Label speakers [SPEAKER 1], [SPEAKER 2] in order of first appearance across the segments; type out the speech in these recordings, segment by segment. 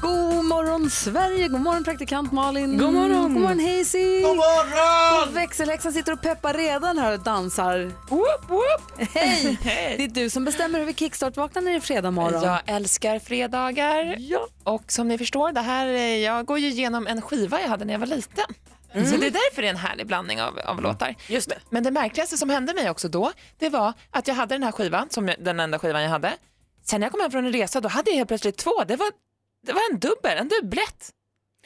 [SPEAKER 1] God morgon Sverige, god morgon praktikant Malin. God morgon. God morgon Hazy. God morgon. Växelhäxan sitter och peppar redan här och dansar.
[SPEAKER 2] Woop, woop.
[SPEAKER 1] Hej! Det är du som bestämmer över kickstart-vaknar när det är fredag morgon.
[SPEAKER 2] Jag älskar fredagar. Och som ni förstår, det här, eh, jag går ju igenom en skiva jag hade när jag var liten. Så det är därför det är en härlig blandning av, av låtar. Mm. Just det. Men det märkligaste som hände mig också då, det var att jag hade den här skivan, som jag, den enda skivan jag hade. Sen när jag kom hem från en resa, då hade jag helt plötsligt två. Det var, det var en dubbel, en dubblett.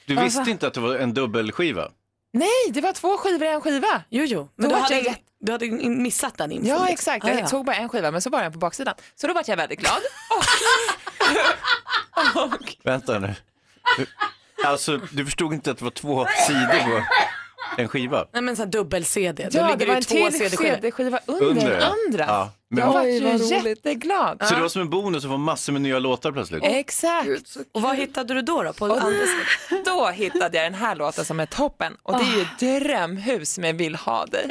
[SPEAKER 3] Du
[SPEAKER 2] Alltså-
[SPEAKER 3] visste inte att det var en dubbelskiva?
[SPEAKER 2] Nej, det var två skivor i en skiva.
[SPEAKER 4] Jo, jo. Men
[SPEAKER 2] Då
[SPEAKER 4] du
[SPEAKER 2] vart
[SPEAKER 4] hade,
[SPEAKER 2] jag jätte-
[SPEAKER 4] du hade missat den infon.
[SPEAKER 2] Ja,
[SPEAKER 4] liksom.
[SPEAKER 2] exakt.
[SPEAKER 4] Ah,
[SPEAKER 2] Jag
[SPEAKER 4] ja.
[SPEAKER 2] tog bara en skiva, men så var den på baksidan. Så då var jag väldigt glad.
[SPEAKER 3] Vänta nu. Alltså, du förstod inte att det var två sidor på en skiva?
[SPEAKER 4] Nej, men så här dubbel-CD. Då
[SPEAKER 2] Ja,
[SPEAKER 4] ligger
[SPEAKER 2] det
[SPEAKER 4] det
[SPEAKER 2] var
[SPEAKER 4] ju
[SPEAKER 2] en
[SPEAKER 4] två
[SPEAKER 2] till
[SPEAKER 4] CD-skivor.
[SPEAKER 2] CD-skiva under,
[SPEAKER 3] Under,
[SPEAKER 2] den
[SPEAKER 3] ja.
[SPEAKER 2] andra.
[SPEAKER 3] Ja, men-
[SPEAKER 2] Jag var
[SPEAKER 1] Oj,
[SPEAKER 2] ju
[SPEAKER 1] vad roligt.
[SPEAKER 2] jätteglad.
[SPEAKER 3] Så det var som en bonus att få massor med nya låtar plötsligt?
[SPEAKER 4] Eh.
[SPEAKER 2] Exakt.
[SPEAKER 4] Och vad hittade du då? då på andra sidan?
[SPEAKER 2] Då hittade jag den här låten som är toppen och det är
[SPEAKER 4] Ah.
[SPEAKER 2] ju Drömhus med Vill ha dig.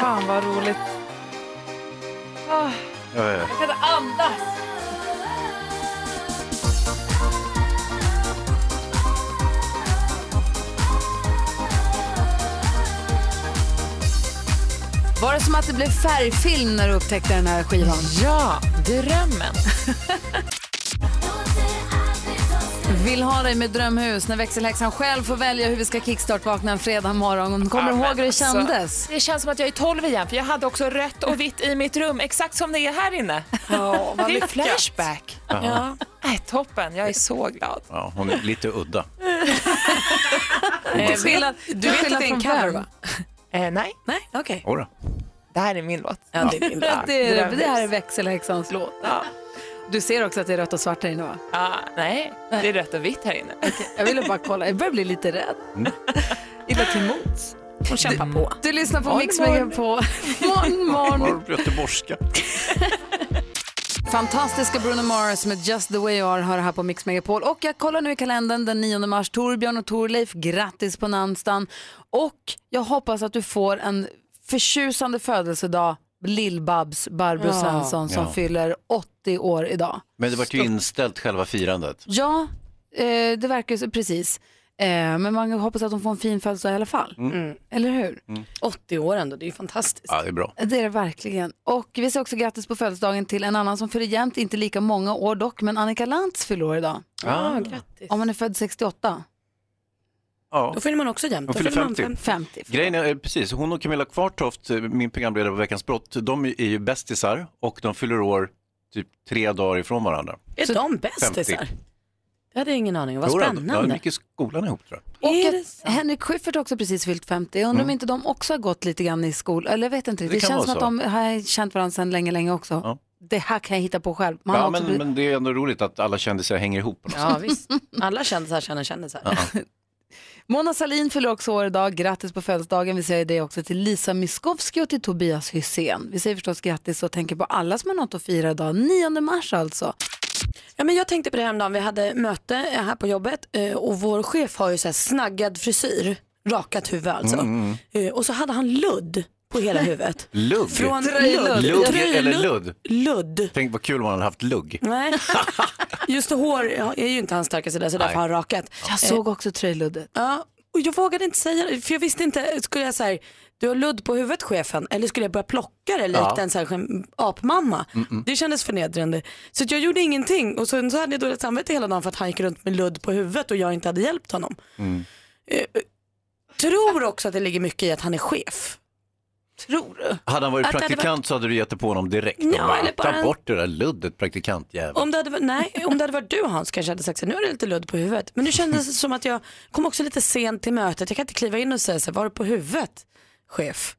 [SPEAKER 2] fan vad roligt.
[SPEAKER 3] Ja, ja.
[SPEAKER 2] Jag kan inte andas.
[SPEAKER 1] Var det som att det blev färgfilm när du upptäckte den här skivan?
[SPEAKER 2] Ja, drömmen.
[SPEAKER 1] Vill ha dig med drömhus när växelhäxan själv får välja hur vi ska kickstart-vakna en fredag morgon. Kommer
[SPEAKER 2] Ja,
[SPEAKER 1] du ihåg
[SPEAKER 2] men
[SPEAKER 1] hur det
[SPEAKER 2] alltså.
[SPEAKER 1] kändes?
[SPEAKER 2] Det känns som att jag är 12 igen för jag hade också rött och vitt i mitt rum exakt som det är här inne.
[SPEAKER 4] Ja, vad
[SPEAKER 2] det är
[SPEAKER 4] lyckat.
[SPEAKER 2] flashback.
[SPEAKER 4] Ja.
[SPEAKER 2] Nej, toppen, jag är så glad.
[SPEAKER 3] ja, hon är lite udda.
[SPEAKER 1] Till skillnad, till
[SPEAKER 4] eh, vet att
[SPEAKER 1] skillnad
[SPEAKER 4] det är
[SPEAKER 1] från
[SPEAKER 4] en cover,
[SPEAKER 1] vem?
[SPEAKER 4] va?
[SPEAKER 2] Eh, nej,
[SPEAKER 4] Nej, okej.
[SPEAKER 3] Jodå.
[SPEAKER 2] det här är min låt.
[SPEAKER 4] Ja, det är din låt.
[SPEAKER 1] Det, är,
[SPEAKER 2] Drömhus.
[SPEAKER 1] det här är växelhäxans låt. Du ser också att det är rött och svart här inne va?
[SPEAKER 2] Ah, nej, det är rött och vitt här inne.
[SPEAKER 1] Jag ville bara kolla, jag börjar bli lite rädd. Illa till mods.
[SPEAKER 4] Hon kämpar på.
[SPEAKER 1] Du lyssnar på
[SPEAKER 2] Morgon,
[SPEAKER 1] Mix
[SPEAKER 2] morgon.
[SPEAKER 1] Megapol. Morgon, morgon.
[SPEAKER 3] Var göteborgska.
[SPEAKER 1] Fantastiska Bruno Mars med Just the way you are hör här på Mix Megapol. Och jag kollar nu i kalendern den 9 mars. Torbjörn och Torleif, grattis på namnsdagen. Och jag hoppas att du får en förtjusande födelsedag. Lill-Babs, Barbro Svensson som
[SPEAKER 3] Ja.
[SPEAKER 1] fyller 80 år idag.
[SPEAKER 3] Men det var ju inställt själva firandet.
[SPEAKER 1] Ja, eh, det verkar ju så, precis. Eh, men man hoppas att de får en fin födelsedag i alla fall.
[SPEAKER 3] Mm.
[SPEAKER 1] Eller hur?
[SPEAKER 4] 80 år ändå, det är ju fantastiskt.
[SPEAKER 3] Ja, det är bra.
[SPEAKER 1] Det är det verkligen. Och vi säger också grattis på födelsedagen till en annan som fyller jämnt, inte lika många år dock, men Annika Lantz fyller år idag.
[SPEAKER 4] Ja, grattis.
[SPEAKER 1] Om man är född 68,
[SPEAKER 3] Ja.
[SPEAKER 4] Då fyller man också jämnt.
[SPEAKER 3] Hon
[SPEAKER 4] Då
[SPEAKER 3] fyller
[SPEAKER 4] fyller man
[SPEAKER 3] 50.
[SPEAKER 4] 50.
[SPEAKER 1] 50.
[SPEAKER 3] Grejen är, eh, precis, hon och Camilla Kvartoft, eh, min programledare på Veckans brott, de är ju bästisar och de fyller år typ tre dagar ifrån varandra.
[SPEAKER 4] Är de bästisar?
[SPEAKER 3] 50.
[SPEAKER 4] Det hade jag ingen aning om. Vad
[SPEAKER 3] Jodå, De
[SPEAKER 4] spännande.
[SPEAKER 3] gick i skolan ihop tror jag.
[SPEAKER 1] Och
[SPEAKER 4] Är det
[SPEAKER 1] att Henrik Schyffert också precis fyllt 50. Jag undrar om inte de också har gått lite grann i skol. Eller jag vet inte. Det,
[SPEAKER 3] Mm. Det
[SPEAKER 1] det
[SPEAKER 3] kan
[SPEAKER 1] känns
[SPEAKER 3] vara
[SPEAKER 1] som att de har känt varandra sedan länge, länge också.
[SPEAKER 3] Ja.
[SPEAKER 1] Det här kan jag hitta på själv. Man har typ-
[SPEAKER 3] Ja,
[SPEAKER 1] också
[SPEAKER 3] men,
[SPEAKER 1] blivit-
[SPEAKER 3] men det är ändå roligt att alla kändisar hänger ihop. på något
[SPEAKER 4] Ja, visst. Alla kändisar känner kändisar.
[SPEAKER 1] Mona Salin fyller också år idag. Grattis på födelsedagen. Vi säger det också till Lisa Miskovsky och till Tobias Hysén. Vi säger förstås grattis och tänker på alla som har något att fira idag. 9 mars alltså.
[SPEAKER 4] Ja, men jag tänkte på det häromdagen, vi hade möte här på jobbet eh, och vår chef har ju så här snaggad frisyr, rakat huvud alltså.
[SPEAKER 3] Mm,
[SPEAKER 4] Eh, Och så hade han ludd på hela huvudet.
[SPEAKER 3] Lugg?
[SPEAKER 4] Från
[SPEAKER 1] Tröjludd.
[SPEAKER 4] ludd.
[SPEAKER 3] Lugg
[SPEAKER 4] Tröjludd.
[SPEAKER 3] eller ludd?
[SPEAKER 4] Ludd.
[SPEAKER 3] Tänk vad kul om man hade haft lugg.
[SPEAKER 4] Nej, just hår ja, är ju inte hans starka sida så därför har han rakat.
[SPEAKER 1] Jag såg också tröjluddet.
[SPEAKER 4] Ja, och jag vågade inte säga det för jag visste inte, skulle jag säga du har ludd på huvudet chefen eller skulle jag börja plocka det likt
[SPEAKER 3] Ja.
[SPEAKER 4] en så här, apmamma? Det kändes förnedrande. Så att jag gjorde ingenting och sen så hade jag dåligt samvete hela dagen för att han gick runt med ludd på huvudet och jag inte hade hjälpt honom. Eh, eh, tror också att det ligger mycket i att han är chef. Tror du?
[SPEAKER 3] Hade han varit
[SPEAKER 4] Att det hade
[SPEAKER 3] praktikant så hade du gett det på honom direkt.
[SPEAKER 4] Ja,
[SPEAKER 3] och bara,
[SPEAKER 4] eller bara
[SPEAKER 3] Ta
[SPEAKER 4] en-
[SPEAKER 3] bort det där luddet praktikantjävel.
[SPEAKER 4] Om det, hade, varit- nej, om det hade varit du Hans kanske jag hade sagt så här, nu är det lite ludd på huvudet. Men nu kändes det som att jag kom också lite sent till mötet. Jag kan inte kliva in och säga så här, var det på huvudet chef?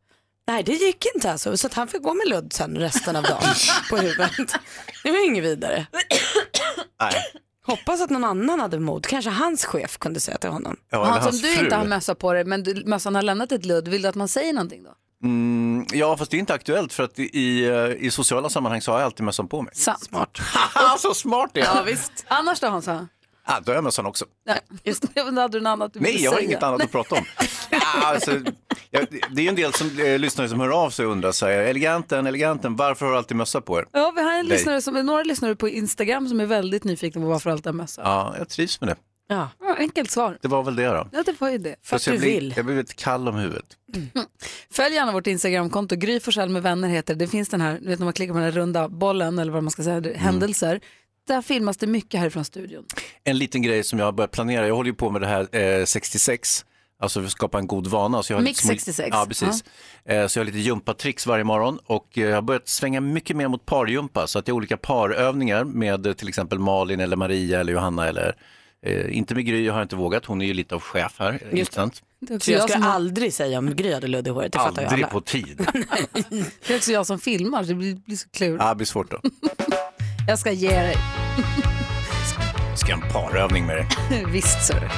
[SPEAKER 4] Nej det gick inte alltså. Så att han fick gå med ludd sen resten av dagen på huvudet. Det var inget vidare.
[SPEAKER 3] Nej.
[SPEAKER 4] Hoppas att någon annan hade mod. Kanske hans chef kunde säga till honom.
[SPEAKER 3] Ja, eller
[SPEAKER 1] Hans, om
[SPEAKER 3] hans
[SPEAKER 1] du
[SPEAKER 3] fru.
[SPEAKER 1] inte har mössa på dig men du, mössan har lämnat ett ludd, vill du att man säger någonting då?
[SPEAKER 3] Mm, ja, fast det är inte aktuellt för att i, eh, i sociala sammanhang så har jag alltid mössan på mig.
[SPEAKER 1] Sant.
[SPEAKER 4] Smart.
[SPEAKER 3] Haha, så smart det är! Ja,
[SPEAKER 4] visst.
[SPEAKER 1] Annars då Hansa?
[SPEAKER 3] ah, då har jag mössan också.
[SPEAKER 1] Nej, just det. Hade du något annat du ville
[SPEAKER 3] Nej, jag har
[SPEAKER 1] säga?
[SPEAKER 3] inget annat att prata om. Ja, alltså, jag, det är ju en del som eh, lyssnare som hör av sig och undrar så här, eleganten, eleganten, varför har du alltid mössa på er?
[SPEAKER 1] Ja, vi har en
[SPEAKER 3] Nej.
[SPEAKER 1] lyssnare som, några lyssnare på Instagram som är väldigt nyfikna på varför allt är mössa.
[SPEAKER 3] Ja, jag trivs med det.
[SPEAKER 4] Ja.
[SPEAKER 1] Ja, enkelt svar.
[SPEAKER 3] Det var väl det då.
[SPEAKER 1] Ja, det var ju det.
[SPEAKER 4] För att
[SPEAKER 3] jag
[SPEAKER 4] du
[SPEAKER 3] blir-
[SPEAKER 4] vill.
[SPEAKER 3] Jag blev lite kall om huvudet.
[SPEAKER 1] Följ gärna vårt Instagramkonto, Gry Forssell med vänner heter det. Det finns den här, du vet när man klickar på den här runda bollen eller vad man ska säga,
[SPEAKER 3] Mm.
[SPEAKER 1] händelser. Där filmas det mycket härifrån studion.
[SPEAKER 3] En liten grej som jag har börjat planera, jag håller ju på med det här eh, 66, alltså för att skapa en god vana. Så jag har
[SPEAKER 1] Mix
[SPEAKER 3] lite
[SPEAKER 1] 66.
[SPEAKER 3] Ja, precis. Eh, så jag har lite gympatricks varje morgon och eh, jag har börjat svänga mycket mer mot pargympa så att jag har olika parövningar med eh, till exempel Malin eller Maria eller Johanna eller eh, inte med Gry har jag inte vågat, hon är ju lite av chef här. eh, inte sant?
[SPEAKER 1] Det är också,
[SPEAKER 4] Så jag
[SPEAKER 1] jag, som,
[SPEAKER 4] skulle aldrig säga om Gry hade ludd i håret, det fattar ju alla.
[SPEAKER 3] Aldrig på tid.
[SPEAKER 1] det är också jag som filmar, så det blir, blir så klurigt.
[SPEAKER 3] Ja, det blir svårt då.
[SPEAKER 1] Jag ska ge dig.
[SPEAKER 3] Ska jag ha en parövning med dig.
[SPEAKER 1] Visst, så är det.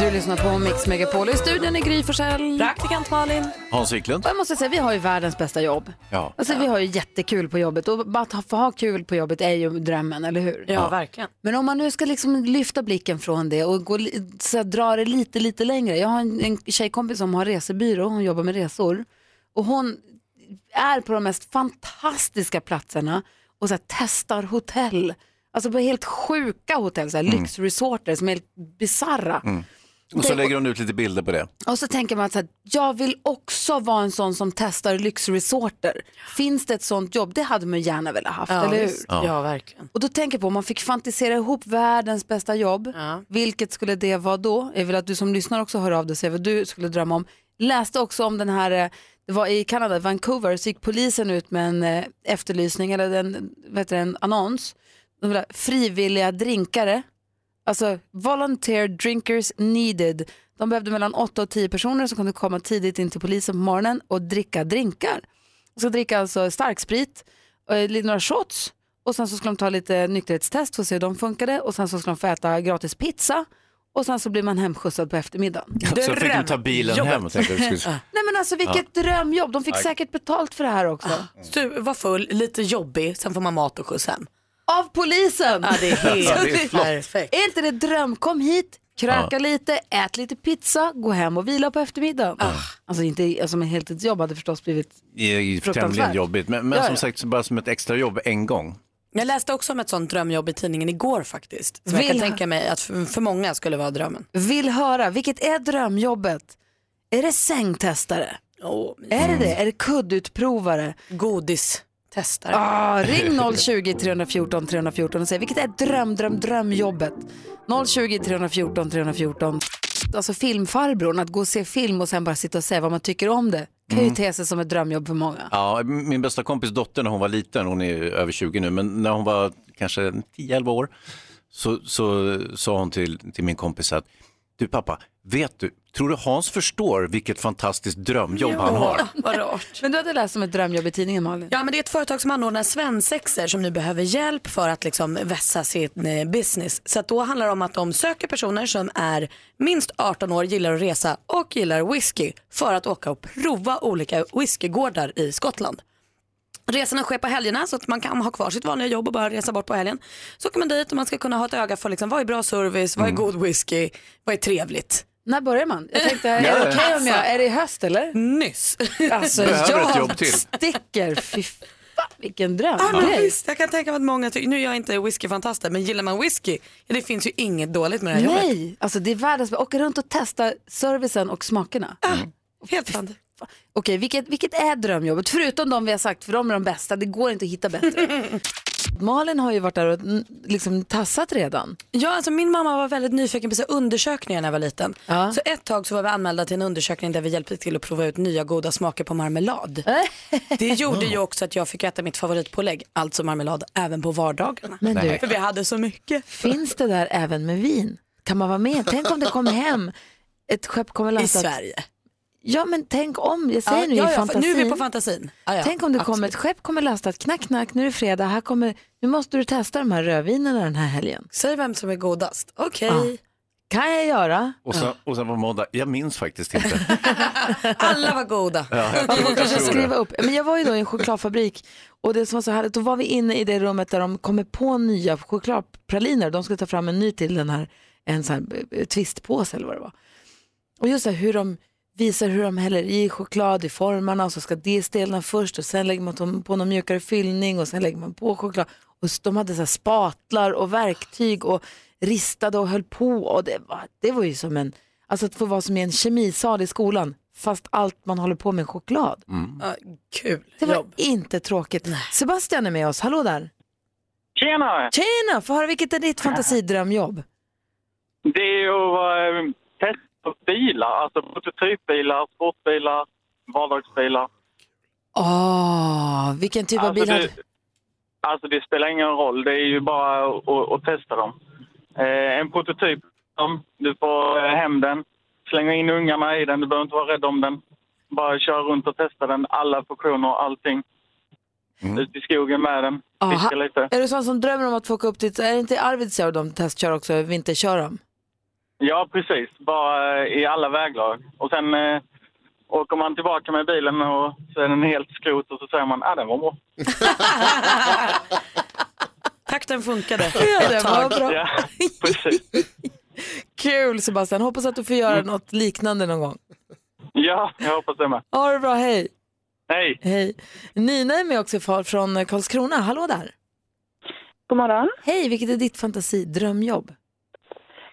[SPEAKER 1] Du lyssnar på Mix Megapol. I studion är Gry Forssell.
[SPEAKER 4] Praktikant Malin.
[SPEAKER 3] Hans Wiklund?
[SPEAKER 1] Och jag måste säga, vi har ju världens bästa jobb.
[SPEAKER 3] Ja.
[SPEAKER 1] Alltså, Vi har ju jättekul på jobbet och bara att ha- få ha kul på jobbet är ju drömmen, eller hur?
[SPEAKER 4] Ja, verkligen.
[SPEAKER 1] Men om man nu ska liksom lyfta blicken från det och gå, li- så här, dra det lite, lite längre. Jag har en, en tjejkompis som har resebyrå, hon jobbar med resor. Och hon är på de mest fantastiska platserna och så här, testar hotell. Alltså på helt sjuka hotell, så här, lyxresorter som är helt bisarra.
[SPEAKER 3] Och så lägger hon ut lite bilder på det.
[SPEAKER 1] Och så tänker man att så här, jag vill också vara en sån som testar lyxresorter. Finns det ett sånt jobb? Det hade man gärna velat haft,
[SPEAKER 4] Ja,
[SPEAKER 1] eller hur?
[SPEAKER 4] visst. ja, verkligen.
[SPEAKER 1] Och då tänker jag på om man fick fantisera ihop världens bästa jobb,
[SPEAKER 4] Ja.
[SPEAKER 1] vilket skulle det vara då? Jag vill att du som lyssnar också hör av dig och säger vad du skulle drömma om. Läste också om den här, eh, det var i Kanada, Vancouver, så gick polisen ut med en eh, efterlysning eller en, vad heter det, en annons. De ville ha frivilliga drinkare, alltså volunteer drinkers needed. De behövde mellan 8 och 10 personer som kunde komma tidigt in till polisen på morgonen och dricka drinkar. De ska dricka alltså starksprit, eh, lite- några shots och sen så ska de ta lite nykterhetstest för att se hur de funkade och sen så ska de få äta gratis pizza och sen så blir man hemskjutsad på eftermiddagen.
[SPEAKER 3] Så fick hon ta bilen hem och tänkte att du skulle...
[SPEAKER 1] Nej men alltså vilket drömjobb, de fick säkert betalt för det här också.
[SPEAKER 4] Du var full, lite jobbig, sen får man mat och skjuts hem.
[SPEAKER 1] Av polisen!
[SPEAKER 4] Ja, det är helt
[SPEAKER 3] Ja, det är flott.
[SPEAKER 4] perfekt.
[SPEAKER 1] Är inte det dröm? Kom hit, kröka lite, ät lite pizza, gå hem och vila på eftermiddagen. Alltså inte alltså, men heltidsjobb hade förstås blivit
[SPEAKER 3] Det är
[SPEAKER 1] Fruktansvärt.
[SPEAKER 3] Tämligen jobbigt, men, men
[SPEAKER 1] Ja,
[SPEAKER 3] som
[SPEAKER 1] ja.
[SPEAKER 3] sagt så bara som ett extra jobb en gång.
[SPEAKER 4] Jag läste också om ett sånt drömjobb i tidningen igår faktiskt. Som jag
[SPEAKER 1] Vill
[SPEAKER 4] kan
[SPEAKER 1] han-
[SPEAKER 4] tänka mig att för, för många skulle vara drömmen.
[SPEAKER 1] Vill höra, vilket är drömjobbet? Är det sängtestare?
[SPEAKER 4] Oh,
[SPEAKER 1] Är det det? Är det kuddutprovare?
[SPEAKER 4] godis. Testar.
[SPEAKER 1] Ah, ring 020 314 314 och säg vilket är dröm, dröm, drömjobbet? 020 314 314. Alltså filmfarbrorn, att gå och se film och sen bara sitta och säga vad man tycker om det kan
[SPEAKER 3] Mm.
[SPEAKER 1] ju te sig som ett drömjobb för många.
[SPEAKER 3] Ja, min bästa kompis dotter när hon var liten, hon är ju över 20 nu, men när hon var kanske 10-11 år så, så sa hon till, till min kompis att du pappa, vet du, tror du Hans förstår vilket fantastiskt drömjobb han har?
[SPEAKER 4] Vad rart.
[SPEAKER 1] Men du hade läst om ett drömjobb i tidningen Malin?
[SPEAKER 4] Ja, men det är ett företag som anordnar svensexer som nu behöver hjälp för att liksom vässa sin eh, business. Så att då handlar det om att de söker personer som är minst 18 år, gillar att resa och gillar whisky för att åka och prova olika whiskygårdar i Skottland. Resorna sker på helgerna så att man kan ha kvar sitt vanliga jobb och bara resa bort på helgen. Så åker man dit och man ska kunna ha ett öga för liksom, vad är bra service, vad är god whisky, vad är trevligt.
[SPEAKER 1] När börjar man? Jag tänkte, är det okej om jag, är det i höst eller?
[SPEAKER 4] Nyss.
[SPEAKER 1] Alltså
[SPEAKER 3] Behöver ett
[SPEAKER 1] jag
[SPEAKER 3] jobb till. Ah,
[SPEAKER 1] sticker, fy fan vilken dröm.
[SPEAKER 4] Ja, men
[SPEAKER 1] Grej.
[SPEAKER 4] visst, jag kan tänka mig att många tycker, nu är jag inte whiskyfantasten, men gillar man whisky, ja, det finns ju inget dåligt med det här jobbet.
[SPEAKER 1] Nej, alltså det är världens Åka runt och testa servicen och smakerna.
[SPEAKER 4] Ah. Helt sant.
[SPEAKER 1] Okej, vilket, vilket är drömjobbet? Förutom de vi har sagt, för de är de bästa. Det går inte att hitta bättre. Malin har ju varit där och mm, liksom tassat redan.
[SPEAKER 4] Ja, alltså min mamma var väldigt nyfiken på så här undersökningar när jag var liten. Så ett tag så var vi anmälda till en undersökning där vi hjälpte till att prova ut nya goda smaker på marmelad. Det gjorde ju också att jag fick äta mitt favoritpålägg, alltså marmelad, även på vardagarna.
[SPEAKER 1] Men du,
[SPEAKER 4] För vi hade så mycket.
[SPEAKER 1] finns det där även med vin? Kan man vara med? Tänk om det kommer hem ett skepp kommer
[SPEAKER 4] I
[SPEAKER 1] lastat.
[SPEAKER 4] Sverige.
[SPEAKER 1] Ja men tänk om, jag säger
[SPEAKER 4] Ja,
[SPEAKER 1] nu
[SPEAKER 4] ja,
[SPEAKER 1] i
[SPEAKER 4] ja,
[SPEAKER 1] fantasin.
[SPEAKER 4] Alltså, nu är vi på fantasin. Ja, ja,
[SPEAKER 1] Tänk om det kommer
[SPEAKER 4] absolut.
[SPEAKER 1] ett skepp kommer lastat, knack knack, nu är det fredag, här kommer, nu måste du testa de här rödvinerna den här helgen.
[SPEAKER 4] Säg vem som är godast. Okej.
[SPEAKER 1] Kan jag göra?
[SPEAKER 3] Och sen, och sen på måndag, jag minns faktiskt inte.
[SPEAKER 4] Alla var goda.
[SPEAKER 3] Ja, jag tror,
[SPEAKER 1] Man får
[SPEAKER 3] jag
[SPEAKER 1] kanske
[SPEAKER 3] tror
[SPEAKER 1] skriva
[SPEAKER 3] det.
[SPEAKER 1] upp. Men jag var ju då i en chokladfabrik och det som var så härligt, då var vi inne i det rummet där de kommer på nya chokladpraliner. De skulle ta fram en ny till den här, en sån här eh, twistpåse eller vad det var. Och just så här, hur de visar hur de häller i choklad i formarna och så ska det stelna först och sen lägger man tom- på någon mjukare fyllning och sen lägger man på choklad. Och s- de hade så här spatlar och verktyg och ristade och höll på och det var, det var ju som en, alltså att få vara som i en kemisal i skolan fast allt man håller på med är choklad.
[SPEAKER 4] Ja, kul
[SPEAKER 1] Det var
[SPEAKER 4] jobb.
[SPEAKER 1] inte tråkigt. Sebastian är med oss, hallå där.
[SPEAKER 5] Tjena!
[SPEAKER 1] Tjena, få höra vilket är ditt fantasidrömjobb?
[SPEAKER 5] Det är ju att vara, eh, testa bilar, alltså prototypbilar, sportbilar, vardagsbilar.
[SPEAKER 1] Åh, vilken typ av
[SPEAKER 5] Alltså
[SPEAKER 1] bil har
[SPEAKER 5] det,
[SPEAKER 1] du?
[SPEAKER 5] alltså det spelar ingen roll, det är ju bara att- att, att testa dem. Eh, en prototyp, om du får eh, hem den, slänger in ungarna i den, du behöver inte vara rädd om den. Bara kör runt och testa den, alla funktioner och allting. Ut i skogen med den,
[SPEAKER 1] Aha.
[SPEAKER 5] fiska lite.
[SPEAKER 1] Är du sån som drömmer om att få åka upp dit? Är det inte Arvidsjaur de testkör också, vinterkör dem?
[SPEAKER 5] Ja, precis. Bara eh, i alla väglag. Och sen eh, åker man tillbaka med bilen och så är den helt skrot och så säger man att ah, den var bra.
[SPEAKER 4] Takten funkade.
[SPEAKER 1] Ja, det var bra.
[SPEAKER 5] Ja, precis.
[SPEAKER 1] Kul Sebastian, hoppas att du får
[SPEAKER 6] Mm.
[SPEAKER 1] göra något liknande någon gång.
[SPEAKER 5] Ja, jag hoppas det med.
[SPEAKER 1] Ha det bra, hej.
[SPEAKER 5] Hej!
[SPEAKER 1] hej. Nina är med också fa- från Karlskrona, hallå där.
[SPEAKER 7] God morgon.
[SPEAKER 1] Hej, vilket är ditt fantasidrömjobb?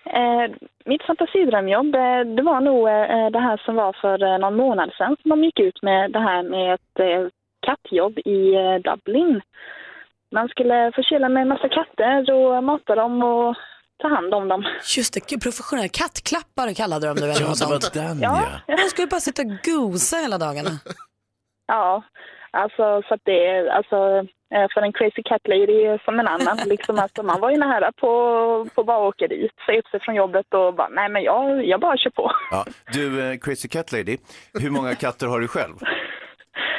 [SPEAKER 7] Eh, mitt fantasidrömjobb, eh, det var nog eh, det här som var för eh, någon månad sedan som de gick ut med det här med ett eh, kattjobb i eh, Dublin. Man skulle förkyla med en massa katter och mata dem och ta hand om dem.
[SPEAKER 4] Just det, gud, professionell kattklappare kallade de det väl?
[SPEAKER 3] Ja,
[SPEAKER 4] något
[SPEAKER 3] det
[SPEAKER 4] sånt.
[SPEAKER 3] var den ja.
[SPEAKER 4] De skulle bara sitta och gosa hela dagarna.
[SPEAKER 7] Ja, alltså så att det är alltså eh, för en crazy cat lady är som en annan. Liksom, alltså, man var ju nära på på bara åka dit, säga upp sig från jobbet och bara nej men jag, jag bara kör på.
[SPEAKER 3] Ja. Du, eh, Crazy Cat Lady, hur många katter har du själv?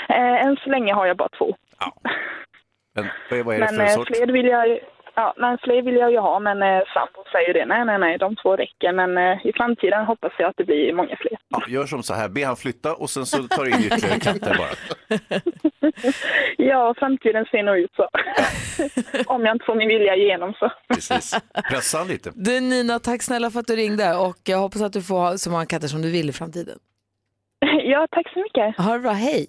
[SPEAKER 7] Eh, än så länge har jag bara två.
[SPEAKER 3] Men, vad är- vad är det
[SPEAKER 7] Men
[SPEAKER 3] för
[SPEAKER 7] eh,
[SPEAKER 3] sort?
[SPEAKER 7] fler vill jag ju- Ja, men fler vill jag ju ha, men eh, sambo säger det. Nej, nej, nej, de två räcker. Men eh, i framtiden hoppas jag att det blir många fler.
[SPEAKER 3] Ja, gör som så här, be han flytta och sen så tar du in ytterligare katter bara.
[SPEAKER 7] Ja, framtiden ser nog ut så. Om jag inte får min vilja igenom så.
[SPEAKER 3] Precis. Pressa han lite.
[SPEAKER 1] Du Nina, tack snälla för att du ringde och jag hoppas att du får ha så många katter som du vill i framtiden.
[SPEAKER 7] Ja, tack så mycket.
[SPEAKER 1] Ha det bra, hej.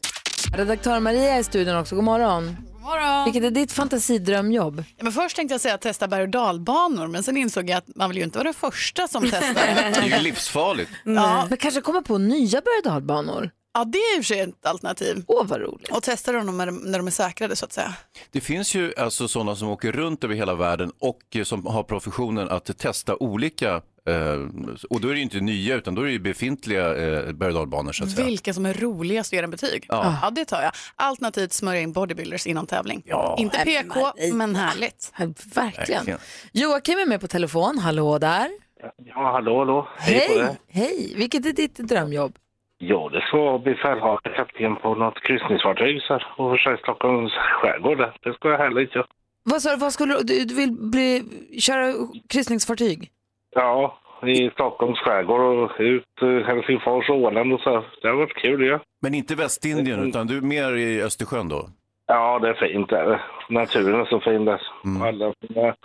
[SPEAKER 1] Redaktör Maria är i studion också, god morgon.
[SPEAKER 8] morgon.
[SPEAKER 1] Vilket är ditt fantasidrömjobb?
[SPEAKER 8] Ja, Men först tänkte jag säga att testa berg och dalbanor, men sen insåg jag att man vill ju inte vara den första som testar.
[SPEAKER 3] Det är ju livsfarligt.
[SPEAKER 8] ja,
[SPEAKER 1] Men kanske komma på nya berg och dalbanor?
[SPEAKER 8] ja, det är i och för sig ett alternativ.
[SPEAKER 1] Åh, vad roligt.
[SPEAKER 8] Och testa dem när de- när de är säkrade så att säga.
[SPEAKER 3] Det finns ju alltså sådana som åker runt över hela världen och eh, som har professionen att testa olika, eh, och då är det ju inte nya utan då är det ju befintliga eh, berg och dalbanor så att säga.
[SPEAKER 8] Vilka som är roligast att ge en betyg?
[SPEAKER 3] Ja.
[SPEAKER 8] det tar jag. Alternativt smörja in bodybuilders innan tävling.
[SPEAKER 3] Ja.
[SPEAKER 8] Inte PK, men härligt.
[SPEAKER 1] Ja, Verkligen.
[SPEAKER 3] Verkligen.
[SPEAKER 1] Joakim är med på telefon, hallå där.
[SPEAKER 9] Ja, hallå, hallå. Hej på
[SPEAKER 1] Hej,
[SPEAKER 9] er.
[SPEAKER 1] hej. Vilket är ditt drömjobb?
[SPEAKER 9] Ja, det ska jag bli befälhavare, kapten på något kryssningsfartyg så här, och försöka Stockholms skärgård. där. Det ska jag härligt ja.
[SPEAKER 1] Vad sa du, vad skulle du, du, du vill bli, köra kryssningsfartyg?
[SPEAKER 9] Ja, i Stockholms skärgård och ut eh, Helsingfors och Åland och så. här. Det har varit kul ja.
[SPEAKER 3] Men inte Västindien
[SPEAKER 9] Mm.
[SPEAKER 3] utan du är mer i Östersjön då?
[SPEAKER 9] Ja, det är fint där. Naturen är så fin där.
[SPEAKER 3] Mm.
[SPEAKER 9] Alla fina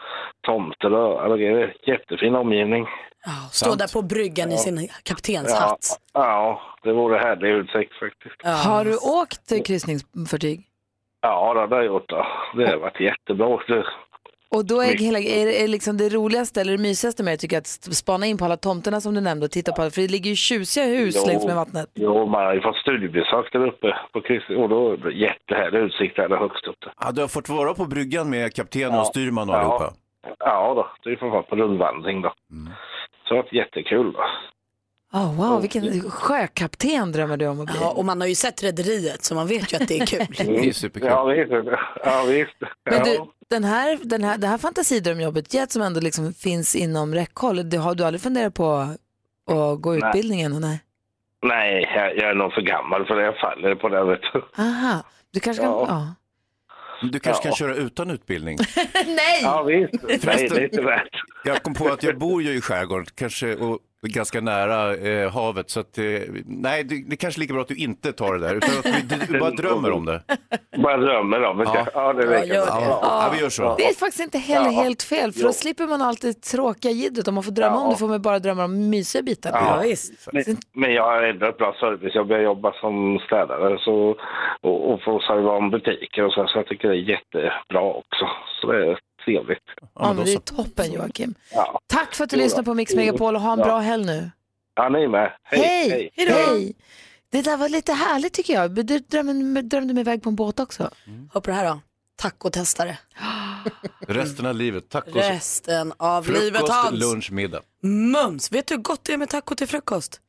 [SPEAKER 9] tomter och alla grejer. Jättefin omgivning.
[SPEAKER 4] Ja, och stå där på bryggan i sin
[SPEAKER 9] Ja,
[SPEAKER 4] kaptenshatt.
[SPEAKER 9] ja, det vore härlig utsikt faktiskt.
[SPEAKER 1] Har du åkt eh, kryssningsfartyg?
[SPEAKER 9] Ja, det har jag gjort. ja. Det har varit jättebra. Det-
[SPEAKER 1] Och då är, hela, är, det- är liksom det roligaste eller det mysigaste med det tycker jag att spana in på alla tomterna som du nämnde och titta på. För det ligger ju tjusiga hus
[SPEAKER 9] Jo.
[SPEAKER 1] längs med vattnet.
[SPEAKER 9] Jo, man har ju fått studiebesök där uppe på Kristi och då är det jättehärlig utsikt där högst upp. där.
[SPEAKER 3] Ja, du har fått vara på bryggan med kapten och styrman och
[SPEAKER 9] Ja.
[SPEAKER 3] allihopa?
[SPEAKER 9] Ja då, det är för fan på rundvandring då.
[SPEAKER 3] Mm.
[SPEAKER 9] Så det har varit jättekul då.
[SPEAKER 1] Oh, wow, vilken sjökapten drömmer du om att bli.
[SPEAKER 4] Ja, och man har ju sett Rederiet så man vet ju att det är kul.
[SPEAKER 3] Det är ju superkul.
[SPEAKER 9] Ja visst, ja visst.
[SPEAKER 1] Men
[SPEAKER 9] ja.
[SPEAKER 1] du, den här, den här, det här fantasidrömjobbet Jet som ändå liksom finns inom räckhåll, det har du aldrig funderat på att gå utbildningen? Nej.
[SPEAKER 9] Nej, jag, jag är nog för gammal för det. Jag faller på det, vet du.
[SPEAKER 1] Aha, du kanske kan...
[SPEAKER 9] Ja.
[SPEAKER 1] Ja.
[SPEAKER 3] Du kanske
[SPEAKER 9] Ja.
[SPEAKER 3] kan köra utan utbildning?
[SPEAKER 1] Nej!
[SPEAKER 9] Ja, visst. Nej, det är inte värt.
[SPEAKER 3] Jag kom på att jag bor ju i skärgården, kanske och ganska nära eh, havet, så att, eh, nej, det, det kanske är lika bra att du inte tar det där, utan att vi, du, du bara drömmer om det.
[SPEAKER 9] Bara drömmer om det. Ja, det
[SPEAKER 3] Ja,
[SPEAKER 9] räcker.
[SPEAKER 3] gör det. Ja. Ja, vi gör så.
[SPEAKER 1] Det är faktiskt inte heller helt fel, för då
[SPEAKER 9] Jo.
[SPEAKER 1] slipper man alltid tråkiga jiddet. Om man får drömma om det får man bara drömma om mysiga bitar.
[SPEAKER 9] Men, men jag har ändå ett bra service. Jag börjar jobba som städare så, och, och får serva om butiker och så, så jag tycker det är jättebra också. Så det är trevligt.
[SPEAKER 1] Ja, men det är toppen Joakim.
[SPEAKER 9] Ja.
[SPEAKER 1] Tack för att du
[SPEAKER 9] Jo då.
[SPEAKER 1] lyssnade på Mix Megapol och ha en
[SPEAKER 9] Ja.
[SPEAKER 1] bra helg nu.
[SPEAKER 9] Ja, ni med.
[SPEAKER 1] Hej! Hej! Det där var lite härligt tycker jag. Du drömde, drömde mig iväg på en båt också.
[SPEAKER 10] Hör på det här då. Tacotestare.
[SPEAKER 3] Resten av livet, tacos,
[SPEAKER 10] Resten av livet
[SPEAKER 3] frukost,
[SPEAKER 10] hans.
[SPEAKER 3] lunch, middag.
[SPEAKER 10] Mums, vet du hur gott det är med taco till frukost?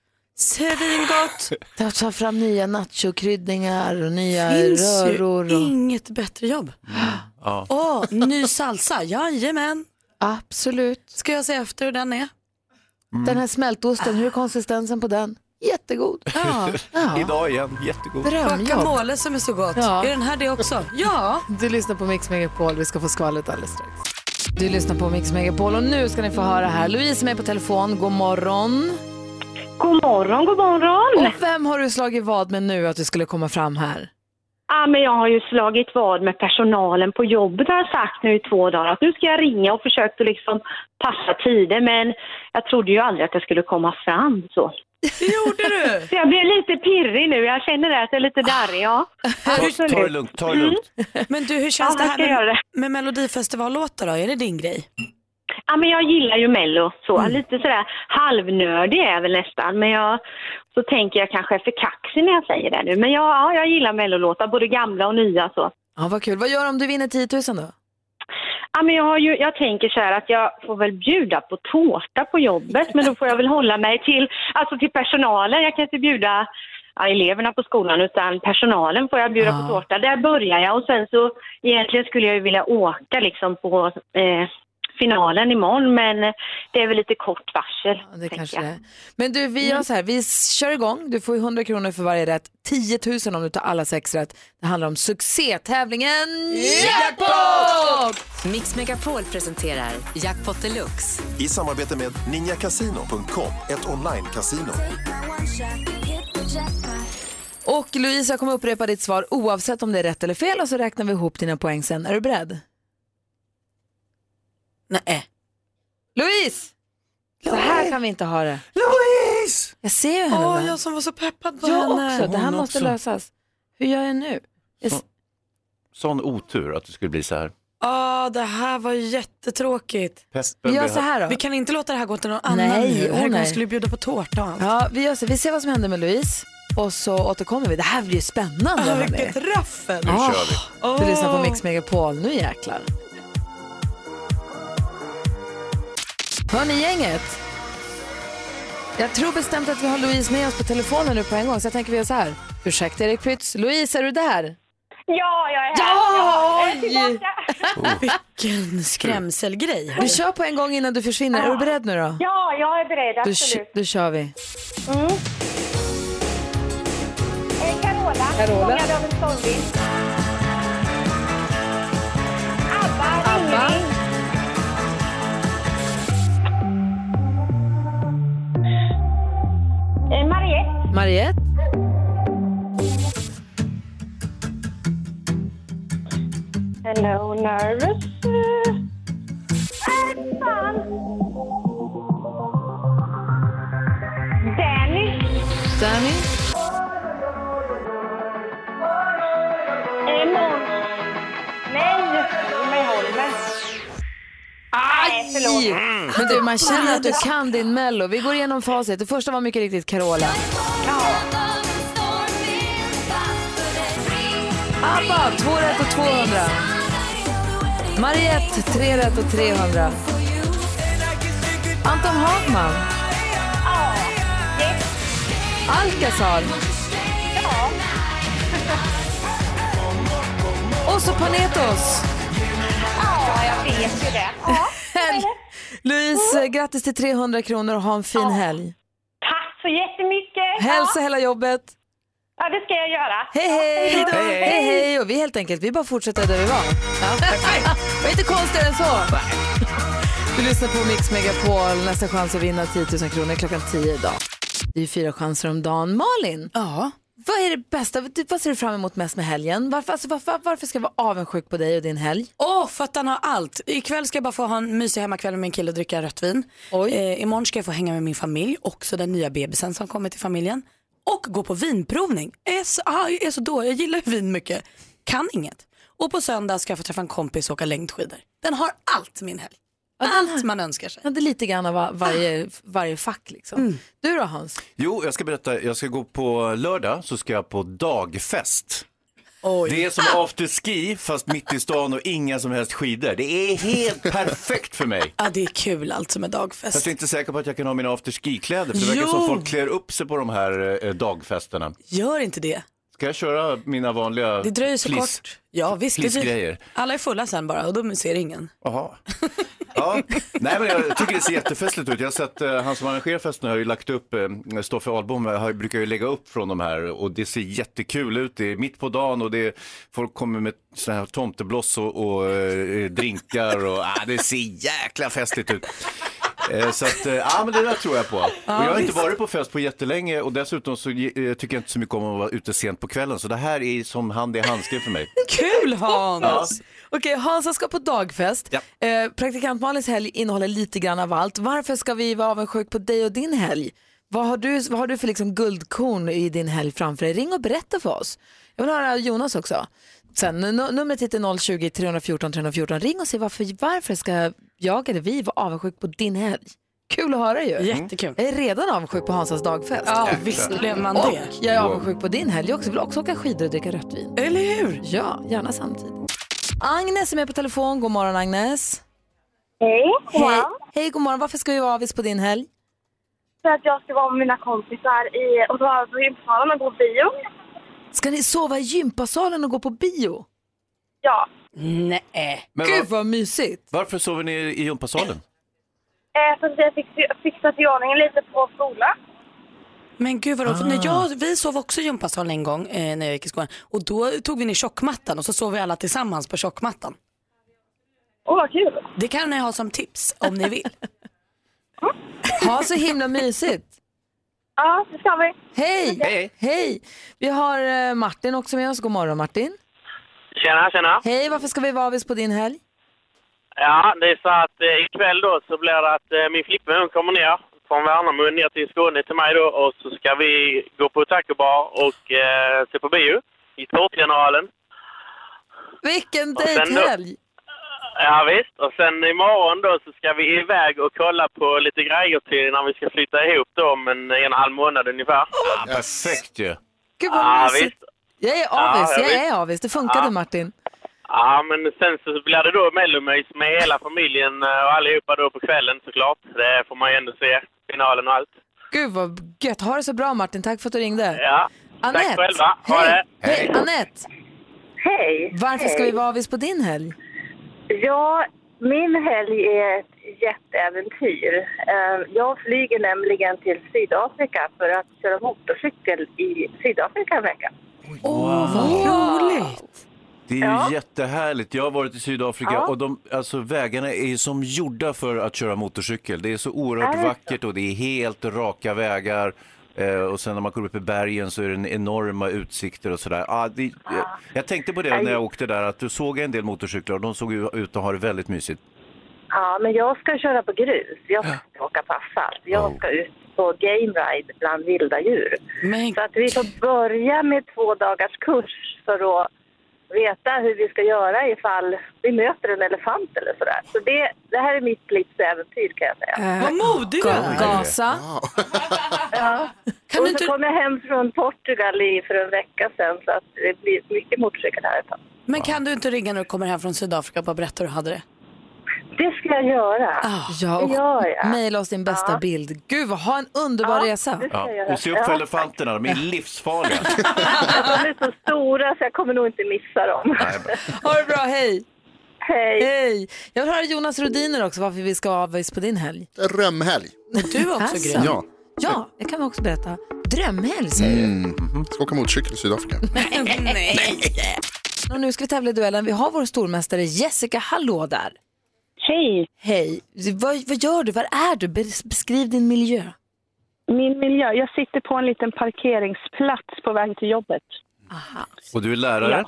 [SPEAKER 10] Svingott!
[SPEAKER 1] Jag tar fram nya nachokryddningar och nya
[SPEAKER 10] Finns ju
[SPEAKER 1] röror. Och...
[SPEAKER 10] inget bättre jobb.
[SPEAKER 3] Ja.
[SPEAKER 10] Åh, ny salsa, jajamän.
[SPEAKER 1] Absolut.
[SPEAKER 10] Ska jag se efter hur den är? Mm.
[SPEAKER 1] Den här smältosten, hur är konsistensen på den? Jättegod.
[SPEAKER 3] Idag igen, jättegod.
[SPEAKER 10] Guacamole som är så gott. Är den här det också? Ja.
[SPEAKER 1] Du lyssnar på Mix Megapol. Vi ska få skvallret alldeles strax. Du lyssnar på Mix Megapol och nu ska ni få höra här. Louise är med på telefon. God morgon.
[SPEAKER 11] God morgon, god morgon.
[SPEAKER 1] Och vem har du slagit vad med nu att du skulle komma fram här?
[SPEAKER 11] Ja, men jag har ju slagit vad med personalen på jobbet har jag sagt nu i två dagar att nu ska jag ringa och försökt att liksom passa tider men jag trodde ju aldrig att jag skulle komma fram så. Det gjorde du! Så jag blev lite pirrig nu, jag känner det att jag är lite
[SPEAKER 1] Ah,
[SPEAKER 11] darrig. Ja.
[SPEAKER 3] Ta, ta det lugnt, ta det lugnt.
[SPEAKER 10] Men du, hur känns
[SPEAKER 11] Ja,
[SPEAKER 10] det
[SPEAKER 11] jag
[SPEAKER 10] här
[SPEAKER 11] ska göra
[SPEAKER 10] med,
[SPEAKER 11] det.
[SPEAKER 10] med Melodifestivallåtar då? Är det din grej?
[SPEAKER 11] Ja, men jag gillar ju Mello. Så. Lite sådär halvnördig är jag väl nästan. Men jag, så tänker jag kanske är för kaxig när jag säger det nu. Men jag, ja, jag gillar Mellolåtar, både gamla och nya. Så.
[SPEAKER 1] Ja, vad kul. Vad gör du om du vinner 10 000 då?
[SPEAKER 11] Ja, men jag, har ju, jag tänker så här att jag får väl bjuda på tårta på jobbet. Men då får jag väl hålla mig till, alltså till personalen. Jag kan inte bjuda ja, eleverna på skolan utan personalen får jag bjuda på tårta. Där börjar jag och sen så egentligen skulle jag ju vilja åka liksom på eh, finalen imorgon men eh, det är väl lite kort varsel.
[SPEAKER 1] Det
[SPEAKER 11] tänker
[SPEAKER 1] kanske
[SPEAKER 11] jag.
[SPEAKER 1] det är. Men du, vi gör så här. Vi kör igång. Du får ju 100 kronor för varje rätt. 10 000 om du tar alla sex rätt. Det handlar om succétävlingen
[SPEAKER 12] Mix Megapol presenterar Jackpot Deluxe.
[SPEAKER 10] Mm.
[SPEAKER 13] I samarbete med ninjakasino.com, ett online-casino.
[SPEAKER 1] Och Louise, jag kommer upprepa ditt svar oavsett om det är rätt eller fel och så räknar vi ihop dina poäng sen. Är du beredd? Nej. Louise! Så här kan vi inte ha det.
[SPEAKER 10] Louise!
[SPEAKER 1] Jag ser ju henne
[SPEAKER 10] Åh,
[SPEAKER 1] där.
[SPEAKER 10] jag som var så peppad på
[SPEAKER 1] Jag
[SPEAKER 10] henne.
[SPEAKER 1] också. Det här
[SPEAKER 3] Hon
[SPEAKER 1] måste
[SPEAKER 3] också.
[SPEAKER 1] lösas. Hur gör jag nu? Jag s-
[SPEAKER 3] Sån otur att det skulle bli så här.
[SPEAKER 10] Ja, Ah, det här var jättetråkigt.
[SPEAKER 3] Peppen blir-
[SPEAKER 10] Vi kan inte låta det här gå till någon annan
[SPEAKER 1] Nej,
[SPEAKER 10] nu.
[SPEAKER 1] åh
[SPEAKER 10] Herregud,
[SPEAKER 1] nej.
[SPEAKER 10] hon skulle bjuda på tårta och allt.
[SPEAKER 1] Ja, vi, gör så. vi ser vad som händer med Louise och så återkommer vi. Det här blir ju spännande.
[SPEAKER 10] Ah,
[SPEAKER 1] hörni.
[SPEAKER 10] vilket raffel!
[SPEAKER 1] Nu Ah. kör Du lyssnar på Mix Megapol, nu jäklar. Hör ni gänget? Jag tror bestämt att vi har Louise med oss på telefonen nu på en gång, så jag tänker vi gör så här. Ursäkta Erik Prytz, Louise är du där?
[SPEAKER 11] Ja, jag är
[SPEAKER 1] här. Ja,
[SPEAKER 10] Jag är tillbaka. Vilken skrämselgrej.
[SPEAKER 1] Du kör på en gång innan du försvinner. Är du beredd nu då?
[SPEAKER 11] Ja, jag är beredd,
[SPEAKER 1] Då, kö- då kör vi.
[SPEAKER 11] Mm. Eh, Carola,
[SPEAKER 1] Carola.
[SPEAKER 11] Fångad av en stormvind. Abba,
[SPEAKER 1] Abba.
[SPEAKER 11] Ringling. Eh, Mariette.
[SPEAKER 1] Mariette?
[SPEAKER 11] Hello, nervous. Eh, Äh, fan. Danny.
[SPEAKER 1] Danny?
[SPEAKER 11] Eh, Måns. Nej, Holmen Holmen. Nej, förlåt.
[SPEAKER 1] Men du, man känner att du kan din Mello. Vi går igenom facit. Det första var mycket riktigt Carola. Abba, två rätt och 200. Mariette, tre rätt och 300. Anton Hagman. Alcazar. Och så Panetos.
[SPEAKER 11] Ja, jag vet ju det. Ja. Mm.
[SPEAKER 1] Louise, grattis till 300 kronor och ha en fin helg.
[SPEAKER 11] Tack så jättemycket.
[SPEAKER 1] Hälsa hela jobbet.
[SPEAKER 11] Ja, det ska jag göra.
[SPEAKER 1] Hej hej.
[SPEAKER 11] Ja, hej då.
[SPEAKER 1] hej hej! Och vi helt enkelt, vi bara fortsätter där vi var. Det var inte konstigare än så. Du lyssnar på Mix Megapol, nästa chans att vinna 10 000 kronor är klockan 10 idag. Det är ju fyra chanser om dagen. Malin, ja. vad är det bästa, du- vad ser du fram emot mest med helgen? Varför, alltså, varför, varför ska jag vara avundsjuk på dig och din helg?
[SPEAKER 4] Åh, för att han har allt. Ikväll ska jag bara få ha en mysig hemmakväll med min kille och dricka rött vin. Eh, imorgon ska jag få hänga med min familj, också den nya bebisen som kommer till familjen. Och gå på vinprovning. Jag är så, ah, jag är så då, jag gillar ju vin mycket. Kan inget. Och på söndag ska jag få träffa en kompis och åka längdskidor. Den har allt min helg. Allt man önskar sig.
[SPEAKER 1] Ja, det är lite grann av va- varje, varje fack liksom. Du då Hans?
[SPEAKER 3] Jo, jag ska berätta. Jag ska gå på lördag så ska jag på dagfest. Det är som afterski fast mitt i stan och inga som helst skidor. Det är helt perfekt för mig.
[SPEAKER 4] Ja, det är kul alltså med dagfest.
[SPEAKER 3] Fast jag är inte säker på att jag kan ha mina afterski-kläder för det verkar
[SPEAKER 4] Jo.
[SPEAKER 3] som folk klär upp sig på de här eh, dagfesterna.
[SPEAKER 4] Gör inte det.
[SPEAKER 3] Ska jag köra mina vanliga
[SPEAKER 4] Det dröjer så
[SPEAKER 3] flis-
[SPEAKER 4] kort. Ja, visst. det dröjer-
[SPEAKER 3] flisgrejer?
[SPEAKER 4] Alla är fulla sen bara och då ser ingen.
[SPEAKER 3] Jaha. Ja, nej men jag tycker det ser jättefestligt ut. Jag har sett, eh, han som arrangerar festen har ju lagt upp, eh, Stoffe Ahlbom har, brukar ju lägga upp från de här och det ser jättekul ut. Det är mitt på dagen och det är, folk kommer med såna här tomtebloss och, och eh, drinkar och ah, det ser jäkla festligt ut. Eh, Så att, eh, ja men det där tror jag på. Och jag har inte
[SPEAKER 14] visst.
[SPEAKER 3] varit på fest på jättelänge och dessutom så eh, tycker jag inte så mycket om att vara ute sent på kvällen så det här är som hand i handske för mig.
[SPEAKER 1] Kul
[SPEAKER 3] Hans!
[SPEAKER 1] Okej, Hansa ska på dagfest. Eh, praktikant Malins helg innehåller lite grann av allt. Varför ska vi vara avundsjuk på dig och din helg? Vad har du, vad har du för liksom guldkorn i din helg framför dig? Ring och berätta för oss. Jag vill höra Jonas också. Sen, n- numret hit är 020-314 314. Ring och se varför, varför ska jag eller vi vara avundsjuk på din helg? Kul att höra ju.
[SPEAKER 4] Jättekul.
[SPEAKER 1] Jag är redan avundsjuk på Hansas dagfest.
[SPEAKER 4] Ja, visst blev man det.
[SPEAKER 1] Och jag är avundsjuk på din helg också. Jag vill också åka skidor och dricka rött vin.
[SPEAKER 4] Eller hur?
[SPEAKER 1] Ja, gärna samtidigt. Agnes är med på telefon. God morgon Agnes.
[SPEAKER 15] Hej, god
[SPEAKER 1] Hej,
[SPEAKER 15] morgon.
[SPEAKER 1] hej god morgon. Varför ska vi vara avis på din helg?
[SPEAKER 15] För att jag ska vara med mina kompisar i, och vara på gymsalen och gå på bio.
[SPEAKER 1] Ska ni sova i gympasalen och gå på bio?
[SPEAKER 15] Ja.
[SPEAKER 4] Nej.
[SPEAKER 3] Men
[SPEAKER 1] Gud
[SPEAKER 3] vad-
[SPEAKER 1] vad mysigt.
[SPEAKER 3] Varför sover ni i gympasalen?
[SPEAKER 15] Eh, för att jag fick fixat i ordningen lite på skolan.
[SPEAKER 4] Men gud vad
[SPEAKER 15] Ah.
[SPEAKER 4] ah. när jag, Vi sov också i gympasalen en gång eh, när jag gick i skolan. Och då tog vi ner tjockmattan och så sov vi alla tillsammans på tjockmattan.
[SPEAKER 15] Åh, vad kul!
[SPEAKER 4] Det kan ni ha som tips om ni vill.
[SPEAKER 1] Ha så himla mysigt.
[SPEAKER 15] Ja, det ska vi.
[SPEAKER 1] Hej! Hej! Vi har eh, Martin också med oss. God morgon Martin.
[SPEAKER 14] Tjena, tjena.
[SPEAKER 1] Hej, varför ska vi vara avis på din helg?
[SPEAKER 14] Ja, det är så att eh, ikväll då så blir det att eh, min flickvän hon kommer ner från Värnamo ner till Skåne till mig då och så ska vi gå på tacobar och eh, se på bio i Tårtgeneralen.
[SPEAKER 1] Vilken
[SPEAKER 14] Och sen då-
[SPEAKER 1] dejthelg!
[SPEAKER 14] Ja, visst. Och sen imorgon då så ska vi iväg och kolla på lite grejer till när vi ska flytta ihop då om en, en och en halv månad ungefär.
[SPEAKER 3] Ja, perfekt ju.
[SPEAKER 1] Gud vad
[SPEAKER 14] Ja,
[SPEAKER 1] mysigt.
[SPEAKER 14] visst.
[SPEAKER 1] Jag är
[SPEAKER 14] Ja,
[SPEAKER 1] avis,
[SPEAKER 14] jag
[SPEAKER 1] jag
[SPEAKER 14] vet.
[SPEAKER 1] är avis. Det funkade
[SPEAKER 14] Ja.
[SPEAKER 1] Martin.
[SPEAKER 14] Ja, men sen så blir det då mellomys med hela familjen eh, och allihopa då på kvällen såklart. Det får man ju ändå se, finalen och allt.
[SPEAKER 1] Gud vad gött. Ha det så bra Martin. Tack för att du ringde.
[SPEAKER 14] Ja.
[SPEAKER 1] Anette.
[SPEAKER 14] Tack själva. Ha det.
[SPEAKER 1] Hej Anette.
[SPEAKER 15] Hej.
[SPEAKER 1] Varför ska
[SPEAKER 15] Hej.
[SPEAKER 1] vi vara avis på din helg?
[SPEAKER 15] Ja, min helg är ett jätteäventyr. Eh, Jag flyger nämligen till Sydafrika för att köra motorcykel i Sydafrika en vecka.
[SPEAKER 1] Ah.
[SPEAKER 4] roligt!
[SPEAKER 3] Det är ju
[SPEAKER 15] Ja.
[SPEAKER 3] jättehärligt. Jag har varit i Sydafrika
[SPEAKER 15] Ja.
[SPEAKER 3] och de, alltså, vägarna är ju som gjorda för att köra motorcykel. Det är så oerhört
[SPEAKER 15] Är det så?
[SPEAKER 3] vackert och det är helt raka vägar. Eh, och sen när man kommer upp i bergen så är det en enorma utsikter och sådär. Ah, det, jag, jag tänkte på det när jag åkte där, att du såg en del motorcyklar och de såg ju ut att ha det väldigt mysigt.
[SPEAKER 15] Ja, men jag ska köra på grus. Jag ska inte åka på asfalt. Jag ska ut på game ride bland vilda djur. Så att vi får börja med två dagars kurs för att veta hur vi ska göra ifall vi möter en elefant eller sådär. Så det, det här är mitt livs äventyr kan jag säga.
[SPEAKER 4] Vad modig du är.
[SPEAKER 1] Gasa.
[SPEAKER 15] Ja. och så kom jag hem från Portugal i, för en vecka sedan så att det blir mycket motorcykel här ett tag.
[SPEAKER 4] Men kan du inte ringa när du kommer hem från Sydafrika och bara berätta hur du hade det?
[SPEAKER 15] Det ska jag göra.
[SPEAKER 1] Ja,
[SPEAKER 15] det gör
[SPEAKER 1] och
[SPEAKER 15] jag.
[SPEAKER 1] mejla oss din bästa bild. Gud, vad- ha en underbar resa.
[SPEAKER 3] Ja. Och se upp för elefanterna, de är livsfarliga.
[SPEAKER 15] De är så stora så jag kommer nog inte missa dem.
[SPEAKER 1] Ha det bra, hej!
[SPEAKER 15] Hej!
[SPEAKER 1] Hej! Jag vill höra Jonas Rodiner också, varför vi ska vara avis på din helg.
[SPEAKER 16] Römhelg.
[SPEAKER 4] Du är också
[SPEAKER 1] Alltså.
[SPEAKER 4] grym.
[SPEAKER 16] Ja.
[SPEAKER 1] Ja, det kan vi också berätta. Drömhelg säger du.
[SPEAKER 17] Mm. mhm. Ska åka motorcykel i Sydafrika.
[SPEAKER 1] Nej. Och nu ska vi tävla i duellen. Vi har vår stormästare Jessica, hallå där.
[SPEAKER 7] Hej.
[SPEAKER 1] Hej. Vad, vad gör du? Var är du? Bes- Beskriv din miljö.
[SPEAKER 7] Min miljö, jag sitter på en liten parkeringsplats på väg till jobbet.
[SPEAKER 3] Och du är lärare?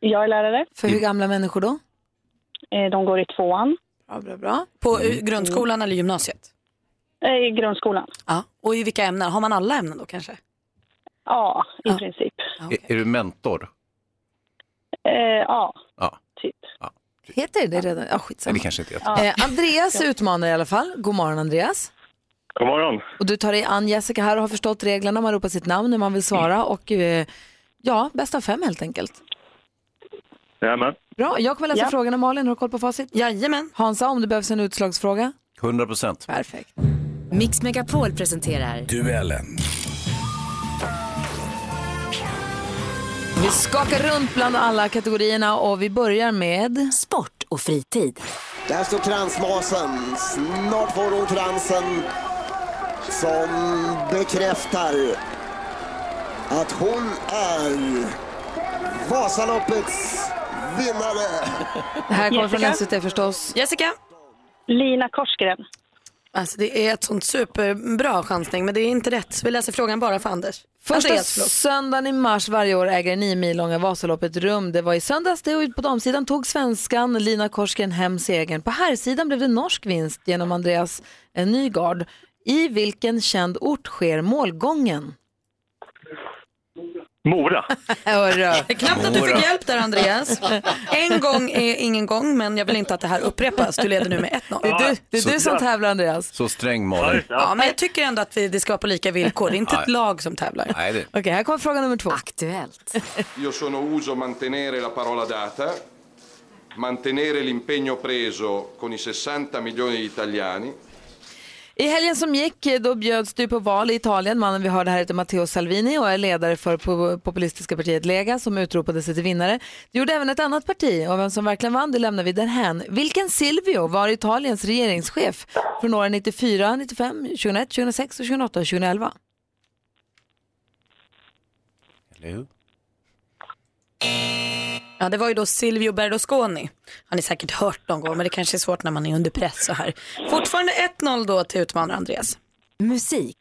[SPEAKER 7] Ja. Jag är lärare. Eh,
[SPEAKER 1] För hur gamla människor då?
[SPEAKER 7] De går i tvåan.
[SPEAKER 1] Bra, bra, bra.
[SPEAKER 4] På eh, grundskolan
[SPEAKER 15] Mm.
[SPEAKER 4] eller gymnasiet?
[SPEAKER 7] Eh, I grundskolan.
[SPEAKER 4] Ja. Och i vilka ämnen? Har man alla ämnen då kanske?
[SPEAKER 7] Ja, i princip.
[SPEAKER 3] Är, är du mentor?
[SPEAKER 7] Eh, ja,
[SPEAKER 3] Ja.
[SPEAKER 7] typ.
[SPEAKER 1] Heter det redan? Ja, skitsamma.
[SPEAKER 3] Nej, det kanske inte heter.
[SPEAKER 1] Eh, Andreas utmanar i alla fall. God morgon Andreas.
[SPEAKER 18] God morgon.
[SPEAKER 1] Och du tar dig an Jessica här och har förstått reglerna. Man ropar sitt namn när man vill svara och eh, ja, bäst av fem helt enkelt.
[SPEAKER 18] Jajamän.
[SPEAKER 1] Bra, jag kommer läsa
[SPEAKER 18] Ja.
[SPEAKER 1] frågorna Malin. Har du koll på facit?
[SPEAKER 4] Jajamän.
[SPEAKER 1] Hansa, om det behövs en utslagsfråga.
[SPEAKER 3] 100 procent.
[SPEAKER 1] Perfekt.
[SPEAKER 19] Mix Megapol presenterar
[SPEAKER 3] Duellen.
[SPEAKER 1] Vi skakar runt bland alla kategorierna och vi börjar med sport och fritid.
[SPEAKER 16] Där står kransmasen. Snart får hon kransen som bekräftar att hon är Vasaloppets vinnare.
[SPEAKER 1] Det här kommer från
[SPEAKER 4] Jessica.
[SPEAKER 1] SVT förstås.
[SPEAKER 4] Jessica?
[SPEAKER 7] Lina Korsgren.
[SPEAKER 4] Alltså det är ett sånt superbra chansning men det är inte rätt. Så vi läser frågan bara för Anders.
[SPEAKER 1] Första
[SPEAKER 4] Andreas, förlåt.
[SPEAKER 1] söndagen i mars varje år äger det nio mil långa Vasaloppet rum. Det var i söndags det och på damsidan tog svenskan Lina Korsgren hem segern. På herrsidan blev det norsk vinst genom Andreas eh, Nygard. I vilken känd ort sker målgången?
[SPEAKER 18] Mora.
[SPEAKER 4] Hörru. Knappt att du
[SPEAKER 18] Mora.
[SPEAKER 4] fick hjälp där Andreas. En gång är ingen gång men jag vill inte att det här upprepas. Du leder nu med 1-0.
[SPEAKER 1] Det är du, det är du som tävlar Andreas.
[SPEAKER 3] Så sträng Malin.
[SPEAKER 4] Ja, men jag tycker ändå att vi, det ska vara på lika villkor. Det är inte ett
[SPEAKER 3] Ja.
[SPEAKER 4] lag som tävlar.
[SPEAKER 3] Nej, det...
[SPEAKER 1] Okej, här kommer fråga nummer två. Aktuellt.
[SPEAKER 20] Io sono uso mantenere la parola data, mantenere l'impegno preso con i 60 milioni di italiani.
[SPEAKER 1] I helgen som gick eh, då bjöds du på val i Italien. Mannen vi hörde här heter Matteo Salvini och är ledare för po- populistiska partiet Lega som utropade sig till vinnare. Det gjorde även ett annat parti och vem som verkligen vann det lämnar vi därhän. Vilken Silvio var Italiens regeringschef från åren 94, 95, 2001, 2006 och 2008 och 2011?
[SPEAKER 4] Ja, det var ju då Silvio Berlusconi. Har ni säkert hört någon gång, men det kanske är svårt när man är under press så här. Fortfarande 1-0 då till utmanare Andreas.
[SPEAKER 19] musik.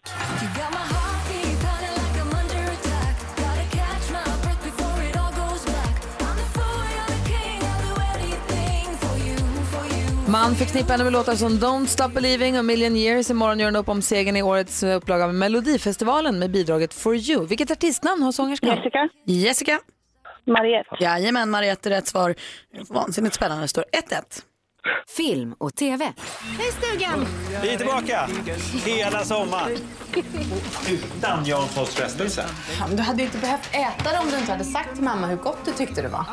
[SPEAKER 1] Man förknippar henne med låtar som Don't Stop Believing och Million Years. Imorgon gör hon upp om segern i årets upplaga av Melodifestivalen med bidraget For You. Vilket artistnamn har sångerskan?
[SPEAKER 7] Jessica.
[SPEAKER 4] Jessica.
[SPEAKER 7] Mariette.
[SPEAKER 4] Jajamän, Mariette är rätt svar. Vansinnigt spännande, det står 1-1.
[SPEAKER 19] Film och TV.
[SPEAKER 11] Hej stugan!
[SPEAKER 21] Vi är tillbaka hela sommaren. Utan Janssons frestelse.
[SPEAKER 8] Du hade ju inte behövt äta det om du inte hade sagt till mamma hur gott du tyckte det var.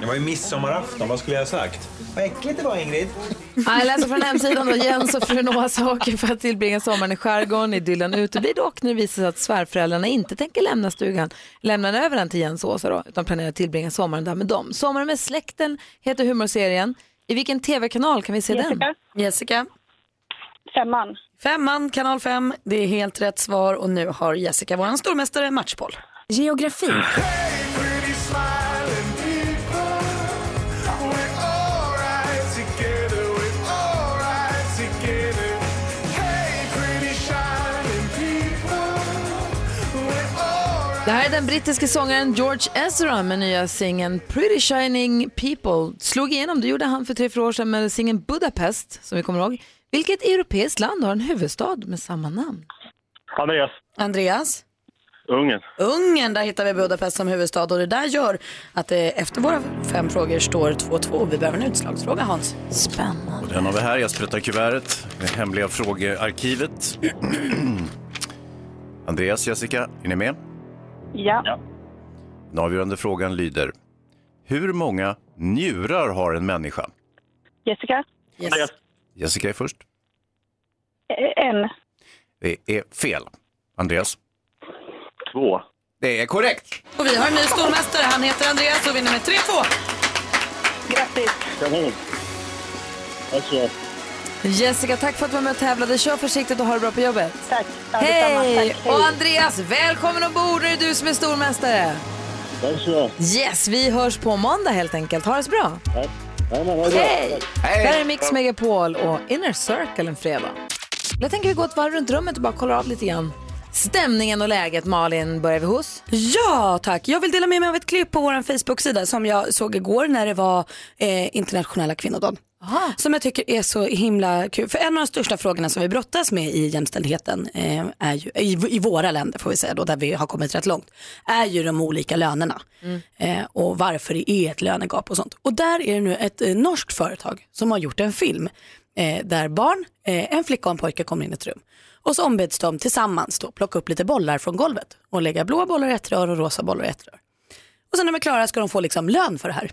[SPEAKER 21] Det var ju midsommarafton, vad skulle jag ha sagt? Vad äckligt det var Ingrid.
[SPEAKER 1] Ja, jag läser från hemsidan då. Jens och frun Åsa åker för att tillbringa sommaren i skärgården. Idyllen uteblir dock när det visar sig att svärföräldrarna inte tänker lämna stugan, lämnar över den till Jens och Åsa då, utan planerar att tillbringa sommaren där med dem. Sommaren med släkten heter humorserien. I vilken tv-kanal kan vi se
[SPEAKER 4] den? Jessica.
[SPEAKER 7] Femman.
[SPEAKER 4] Femman, kanal 5. Det är helt rätt svar och nu har Jessica, vår stormästare, matchboll.
[SPEAKER 19] Geografi.
[SPEAKER 1] Det här är den brittiske sångaren George Ezra med nya singeln Pretty Shining People. Slog igenom, det gjorde han för tre, fyra år sedan med singeln Budapest, som vi kommer ihåg. Vilket europeiskt land har en huvudstad med samma namn?
[SPEAKER 5] Andreas.
[SPEAKER 4] Andreas.
[SPEAKER 5] Ungen.
[SPEAKER 4] Ungern, där hittar vi Budapest som huvudstad och det där gör att det efter våra fem frågor står 2-2. Vi behöver en utslagsfråga Hans.
[SPEAKER 1] Spännande.
[SPEAKER 3] Och den har vi här. Jag sprättar kuvertet. Det hemliga frågearkivet. Andreas, Jessica, är ni med?
[SPEAKER 7] Ja.
[SPEAKER 3] Den avgörande frågan lyder. Hur många njurar har en människa?
[SPEAKER 7] Jessica.
[SPEAKER 3] Jessica är först.
[SPEAKER 7] Eh, En.
[SPEAKER 3] Det är fel. Andreas? Två. Det är korrekt.
[SPEAKER 4] Och vi har en ny stormästare. Han heter Andreas och vinner med 3-2.
[SPEAKER 7] Grattis.
[SPEAKER 5] Kanon. Tack så mycket.
[SPEAKER 1] Jessica, tack för att du var med och tävlade. Kör försiktigt och ha det bra på jobbet. Tack.
[SPEAKER 22] Ja, detsamma.
[SPEAKER 1] Hej!
[SPEAKER 22] Tack. Hej.
[SPEAKER 1] Och Andreas, välkommen ombord. Nu är det du som är stormästare.
[SPEAKER 22] Tack så mycket.
[SPEAKER 1] Yes, vi hörs på måndag helt enkelt. Ha det så bra.
[SPEAKER 22] Tack. Ja, men, ha det bra.
[SPEAKER 1] Hej!
[SPEAKER 22] Tack.
[SPEAKER 1] Där är Mix Megapol och Inner Circle en fredag. Jag tänker vi går ett varv runt rummet och bara kollar av lite grann. Stämningen och läget, Malin, börjar vi hos?
[SPEAKER 4] Ja tack, jag vill dela med mig av ett klipp på vår Facebook-sida som jag såg igår när det var eh, internationella kvinnodagen. Som jag tycker är så himla kul. För en av de största frågorna som vi brottas med i jämställdheten eh, är ju, i, i våra länder får vi säga då, där vi har kommit rätt långt, är ju de olika lönerna. Eh, och varför det är ett lönegap och sånt. Och där är det nu ett eh, norskt företag som har gjort en film eh, där barn, eh, en flicka och en pojke kommer in i ett rum. Och så ombeds de tillsammans då plocka upp lite bollar från golvet och lägga blå bollar i ett rör och rosa bollar i ett rör. Och sen när de är klara ska de få liksom lön för det här.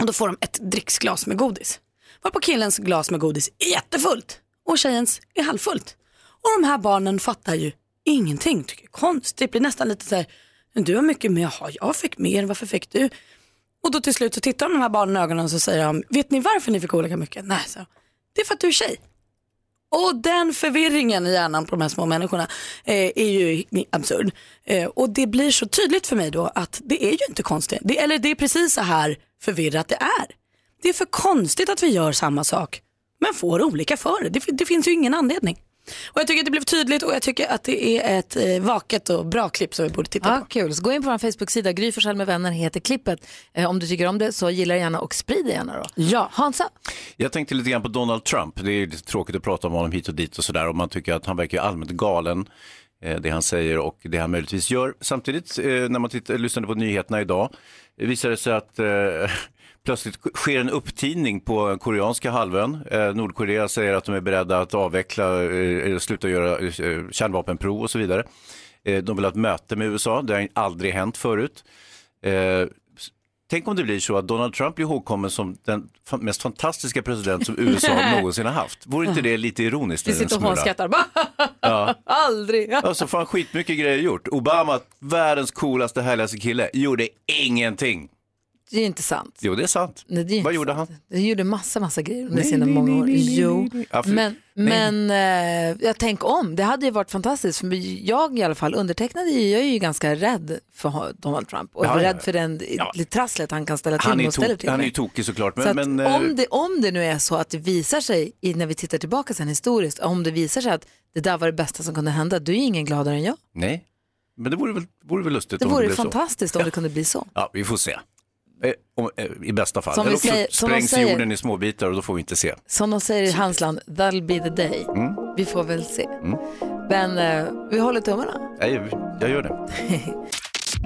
[SPEAKER 4] Och då får de ett dricksglas med godis. Varpå killens glas med godis är jättefullt och tjejens är halvfullt. Och de här barnen fattar ju ingenting, tycker det är konstigt, Det blir nästan lite så här, "Men du har mycket mer, jaha jag fick mer, varför fick du? Och då till slut så tittar de de här barnen i ögonen och så säger de, vet ni varför ni fick olika mycket? Nej, så det är för att du är tjej. Och den förvirringen i hjärnan på de här små människorna eh, är ju absurd. Eh, och det blir så tydligt för mig då att det är ju inte konstigt. Det, eller det är precis så här förvirrat det är. Det är för konstigt att vi gör samma sak men får olika för det. Det, fi- det finns ju ingen anledning. Och jag tycker att det blev tydligt och jag tycker att det är ett eh, vaket och bra klipp som vi borde titta
[SPEAKER 1] Ja, kul. Så gå in på vår Facebook-sida, Gry Forssell med vänner heter klippet. Eh, om du tycker om det så gilla det gärna och sprid det gärna då. Ja. Hansa?
[SPEAKER 3] Jag tänkte lite grann på Donald Trump. Det är ju lite tråkigt att prata om honom hit och dit och sådär. Och man tycker att han verkar ju allmänt galen, eh, det han säger och det han möjligtvis gör. Samtidigt, eh, när man titt- lyssnade på nyheterna idag, eh, visade det sig att eh, plötsligt sker en upptining på koreanska halvön. Eh, Nordkorea säger att de är beredda att avveckla, eh, sluta göra eh, kärnvapenprov och så vidare. Eh, de vill ha ett möte med USA, det har aldrig hänt förut. Eh, Tänk om det blir så att Donald Trump blir ihågkommen som den fa- mest fantastiska president som USA någonsin har haft. Vore inte det lite ironiskt?
[SPEAKER 1] Vi
[SPEAKER 3] en
[SPEAKER 1] sitter och
[SPEAKER 3] smula?
[SPEAKER 1] hånskrattar.
[SPEAKER 3] Ja.
[SPEAKER 1] Aldrig.
[SPEAKER 3] Ja, så får han Alltså, skitmycket grejer gjort. Obama, världens coolaste, härligaste kille, gjorde ingenting.
[SPEAKER 1] Det är ju inte sant.
[SPEAKER 3] Jo, det är sant.
[SPEAKER 1] Nej, det är ju
[SPEAKER 3] Vad
[SPEAKER 1] inte
[SPEAKER 3] gjorde han?
[SPEAKER 1] Det gjorde massa, massa grejer under
[SPEAKER 3] Nej,
[SPEAKER 1] sina
[SPEAKER 3] nej,
[SPEAKER 1] många
[SPEAKER 3] nej,
[SPEAKER 1] år.
[SPEAKER 3] nej, nej,
[SPEAKER 1] Jo,
[SPEAKER 3] nej, nej. Ja, för-
[SPEAKER 1] men,
[SPEAKER 3] nej.
[SPEAKER 1] men eh, jag tänker om. Det hade ju varit fantastiskt. För jag i alla fall, undertecknade ju, jag är ju ganska rädd för ho- Donald Trump och
[SPEAKER 3] Ja, ja,
[SPEAKER 1] rädd
[SPEAKER 3] ja.
[SPEAKER 1] för den det trasslet han kan ställa till
[SPEAKER 3] Han
[SPEAKER 1] med
[SPEAKER 3] är,
[SPEAKER 1] och ställer
[SPEAKER 3] tok,
[SPEAKER 1] till
[SPEAKER 3] han är
[SPEAKER 1] med.
[SPEAKER 3] ju tokig såklart. Men,
[SPEAKER 1] så att
[SPEAKER 3] men, eh,
[SPEAKER 1] om, det, om det nu är så att det visar sig, i, när vi tittar tillbaka sen historiskt, om det visar sig att det där var det bästa som kunde hända, du är ju ingen gladare än jag.
[SPEAKER 3] Nej, men det vore väl, vore väl lustigt
[SPEAKER 1] Det
[SPEAKER 3] om det
[SPEAKER 1] vore
[SPEAKER 3] blev
[SPEAKER 1] fantastiskt
[SPEAKER 3] så.
[SPEAKER 1] om det kunde bli så.
[SPEAKER 3] Ja, vi får se. Eh, om, eh, I bästa fall.
[SPEAKER 1] Som vi
[SPEAKER 3] Eller också
[SPEAKER 1] säger- som de
[SPEAKER 3] sprängs
[SPEAKER 1] säger.
[SPEAKER 3] jorden i småbitar och då får vi inte se.
[SPEAKER 1] Som de säger i hans land, that'll be the day.
[SPEAKER 3] Mm.
[SPEAKER 1] Vi får väl se.
[SPEAKER 3] Mm.
[SPEAKER 1] Men eh, vi håller tummarna.
[SPEAKER 3] Nej, jag gör det.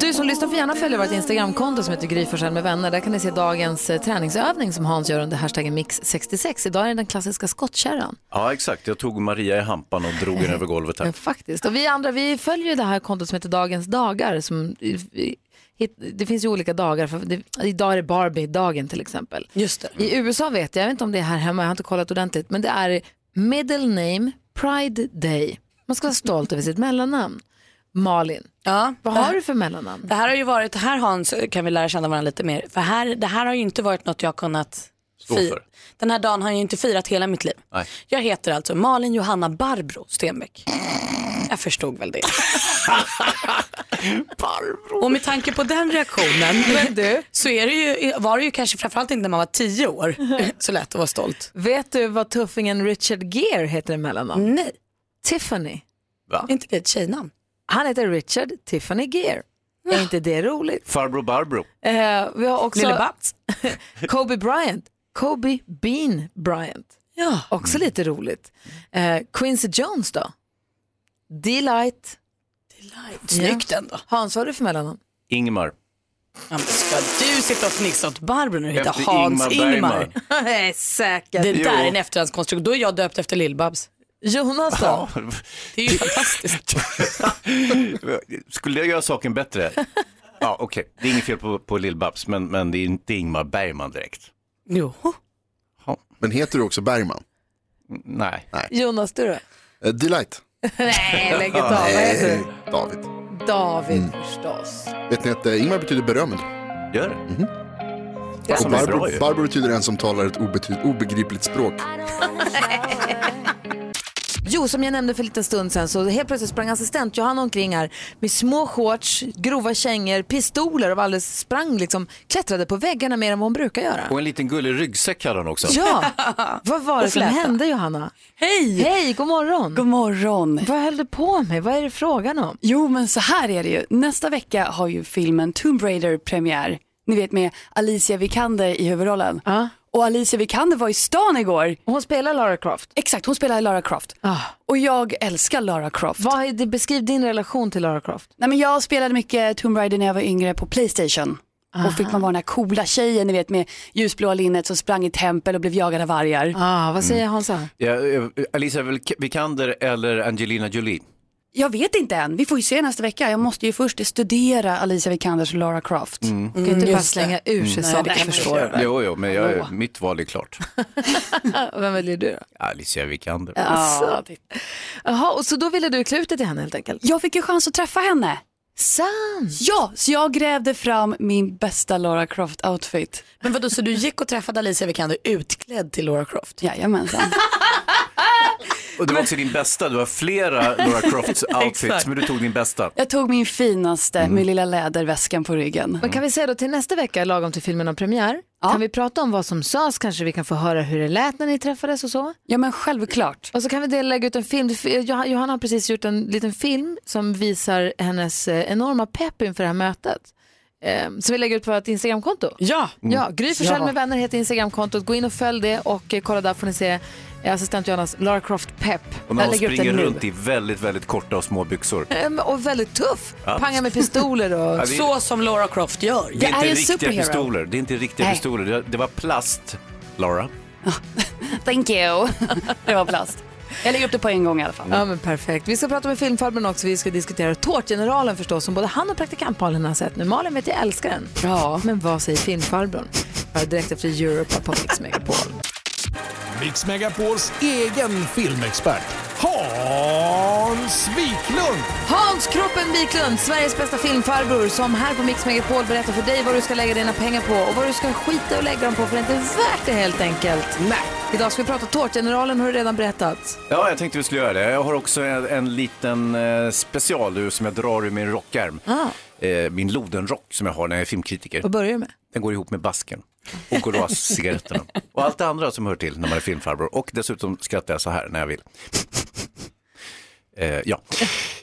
[SPEAKER 1] Du som lyssnar får gärna följa vårt Instagramkonto som heter Gry Forssell med vänner. Där kan ni se dagens eh, träningsövning som Hans gör under hashtaggen mix66. Idag är det den klassiska skottkärran.
[SPEAKER 3] Ja, exakt. Jag tog Maria i hampan och drog henne över golvet här.
[SPEAKER 1] Faktiskt. Och vi andra vi följer ju det här kontot som heter Dagens dagar. Som, vi- hit- det finns ju olika dagar. För det, idag är det Barbie-dagen till exempel.
[SPEAKER 4] Just
[SPEAKER 1] I USA vet jag, jag vet inte om det är här hemma, jag har inte kollat ordentligt, men det är middle name pride day. Man ska vara stolt över sitt mellannamn. Malin,
[SPEAKER 4] ja,
[SPEAKER 1] vad har du för mellannamn?
[SPEAKER 4] Det här har ju varit, här Hans kan vi lära känna varandra lite mer. För här, det här har ju inte varit något jag kunnat
[SPEAKER 3] Stå
[SPEAKER 4] fi-
[SPEAKER 3] för.
[SPEAKER 4] Den här dagen har jag ju inte firat hela mitt liv.
[SPEAKER 3] Nej.
[SPEAKER 4] Jag heter alltså Malin Johanna Barbro Stenbeck. Jag förstod väl det. Och med tanke på den reaktionen så är det ju, var det ju kanske framförallt inte när man var tio år så lätt att vara stolt.
[SPEAKER 1] Vet du vad tuffingen Richard Gere heter i mellannamn?
[SPEAKER 4] Nej.
[SPEAKER 1] Tiffany.
[SPEAKER 3] Va?
[SPEAKER 4] Är inte det ett tjejnamn?
[SPEAKER 1] Han heter Richard Tiffany Gere. Är inte det roligt?
[SPEAKER 3] Farbror Barbro.
[SPEAKER 1] Eh, vi har också
[SPEAKER 3] Lille
[SPEAKER 1] Kobe Bryant. Kobe Bean Bryant.
[SPEAKER 4] Ja.
[SPEAKER 1] Också lite roligt. Eh, Quincy Jones då? Delight. Delight.
[SPEAKER 4] Snyggt ändå.
[SPEAKER 1] Hans, vad har du för mellannamn?
[SPEAKER 3] Ingmar.
[SPEAKER 4] Ja, men Ska du sitta och fnissa åt Barbro när du heter
[SPEAKER 3] Efter
[SPEAKER 4] Hans
[SPEAKER 3] Ingmar
[SPEAKER 4] Ingmar?
[SPEAKER 3] Bergman.
[SPEAKER 1] Nej, säkert.
[SPEAKER 4] Det
[SPEAKER 3] Jo.
[SPEAKER 4] där är en efterhandskonstruktion. Då är jag döpt efter Lill-Babs.
[SPEAKER 1] Jonas då?
[SPEAKER 4] Det är ju fantastiskt.
[SPEAKER 3] Skulle jag göra saken bättre? Ja, okej. Det är inget fel på, på Lill-Babs, men, men det är inte Ingmar Bergman direkt.
[SPEAKER 4] Jo.
[SPEAKER 17] Men heter du också Bergman?
[SPEAKER 3] Nej.
[SPEAKER 1] Jonas, du då?
[SPEAKER 17] Eh, Delight.
[SPEAKER 1] Nej, lägg av. Vad heter du?
[SPEAKER 17] David.
[SPEAKER 1] David förstås.
[SPEAKER 17] Vet ni att eh, Ingmar betyder berömd?
[SPEAKER 3] Gör det? Ja.
[SPEAKER 17] Och Barbro, Barbro betyder en som talar ett obety- obegripligt språk.
[SPEAKER 1] Jo, som jag nämnde för en liten stund sedan så helt plötsligt sprang assistent Johanna omkring här med små shorts, grova kängor, pistoler och alldeles sprang liksom, klättrade på väggarna mer än vad hon brukar göra.
[SPEAKER 3] Och en liten gullig ryggsäck hade han också.
[SPEAKER 1] Ja, vad var det
[SPEAKER 3] Och
[SPEAKER 1] som
[SPEAKER 3] fläta.
[SPEAKER 1] hände Johanna? Hej! Hej, god morgon!
[SPEAKER 22] God
[SPEAKER 1] morgon! Vad höll du på med? Vad är det frågan om?
[SPEAKER 22] Jo, men så här är det ju. Nästa vecka har ju filmen Tomb Raider premiär. Ni vet med Alicia Vikander i huvudrollen. Och Alicia Vikander var i stan igår.
[SPEAKER 1] Hon spelar Lara Croft. Ah,
[SPEAKER 22] Exakt, hon spelar Lara Croft. Och jag älskar Lara Croft.
[SPEAKER 1] Vad är det, beskriv din relation till Lara Croft.
[SPEAKER 22] Nej, men jag spelade mycket Tomb Raider när jag var yngre på Playstation.
[SPEAKER 1] Aha.
[SPEAKER 22] Och fick man vara den här coola tjejen, ni vet med ljusblåa linnet som sprang i tempel och blev jagad av vargar.
[SPEAKER 1] Ah,
[SPEAKER 3] vad säger Mm.
[SPEAKER 1] Hansa?
[SPEAKER 3] Ja, eh, Alicia Vik- Vikander eller Angelina Jolie?
[SPEAKER 22] Jag vet inte än, vi får ju se nästa vecka. Jag måste ju först studera Alicia Vikanders och Lara Croft.
[SPEAKER 3] Mm.
[SPEAKER 22] Kan ju inte bara slänga ur sig
[SPEAKER 3] Mm.
[SPEAKER 22] saker. Nej, det förstår jag.
[SPEAKER 3] Jo, jo, men
[SPEAKER 22] Hallå.
[SPEAKER 3] jag, mitt val är klart.
[SPEAKER 1] Vem väljer du då?
[SPEAKER 3] Alicia Vikander.
[SPEAKER 1] Alltså. Jaha, och så då ville du klä ut dig till henne helt enkelt?
[SPEAKER 22] Jag fick ju chans att träffa henne.
[SPEAKER 1] Sant!
[SPEAKER 22] Ja, så jag grävde fram min bästa Lara Croft-outfit.
[SPEAKER 4] Men vadå, så du gick och träffade Alicia Vikander utklädd till Laura Croft?
[SPEAKER 22] Jajamensan.
[SPEAKER 3] Och det var också din bästa, du har flera Laura Crofts outfits,
[SPEAKER 22] Exakt.
[SPEAKER 3] men du tog din bästa.
[SPEAKER 22] Jag tog min finaste med lilla läderväskan på ryggen.
[SPEAKER 1] Men kan vi säga då till nästa vecka, lagom till filmen har premiär, kan vi prata om vad som sades, kanske vi kan få höra hur det lät när ni träffades och så?
[SPEAKER 22] Ja men självklart.
[SPEAKER 1] Och så kan vi dela- lägga ut en film, Du- Joh- Johanna har precis gjort en liten film som visar hennes eh, enorma pepp inför det här mötet. Eh, Som vi lägger ut på vårt Instagramkonto. Mm.
[SPEAKER 4] Ja!
[SPEAKER 1] ja Gry Forssell
[SPEAKER 4] Ja.
[SPEAKER 1] med vänner heter Instagramkontot, gå in och följ det och eh, kolla där får ni se eh, assistent Johannas Lara Croft pepp.
[SPEAKER 3] Och när
[SPEAKER 1] Jag
[SPEAKER 3] hon
[SPEAKER 1] lägger upp den
[SPEAKER 3] springer
[SPEAKER 1] nu.
[SPEAKER 3] runt i väldigt, väldigt korta och små byxor.
[SPEAKER 1] Ehm, Och väldigt tuff.
[SPEAKER 3] Ja.
[SPEAKER 1] Pangar med pistoler och...
[SPEAKER 3] Ja, det- Så
[SPEAKER 4] som Laura Croft gör.
[SPEAKER 3] Det är inte riktiga pistoler, det är inte riktiga
[SPEAKER 22] Nej.
[SPEAKER 3] pistoler, det, det var plast, Laura.
[SPEAKER 22] Thank you. det var plast. Jag lägger upp det på en gång i alla fall.
[SPEAKER 1] Ja, men perfekt. Vi ska prata med filmfarbrorn också. Vi ska diskutera Tårtgeneralen förstås, som både han och praktikant Malin har sett nu. Malin vet jag älskar den. Ja. Men vad säger filmfarbrorn? Hör direkt efter Europa på Mix Megapol.
[SPEAKER 6] Mix Megapols egen filmexpert Hans Wiklund.
[SPEAKER 1] Hans Kroppen Wiklund, Sveriges bästa filmfarbror, som här på Mix Megapol berättar för dig vad du ska lägga dina pengar på och vad du ska skita och lägga dem på, för det är inte värt det helt enkelt. Nej. Idag ska vi prata Tårtgeneralen, har du redan berättat.
[SPEAKER 3] Ja, jag tänkte vi skulle göra det. Jag har också en, en liten eh, special nu som jag drar ur min rockärm.
[SPEAKER 1] Ah.
[SPEAKER 3] Eh, min lodenrock som jag har när jag är filmkritiker.
[SPEAKER 1] Vad börjar du med?
[SPEAKER 3] Den går ihop med basken och Goroas-cigaretterna. Och allt det andra som hör till när man är filmfarbror. Och dessutom skrattar jag så här när jag vill. Eh, ja.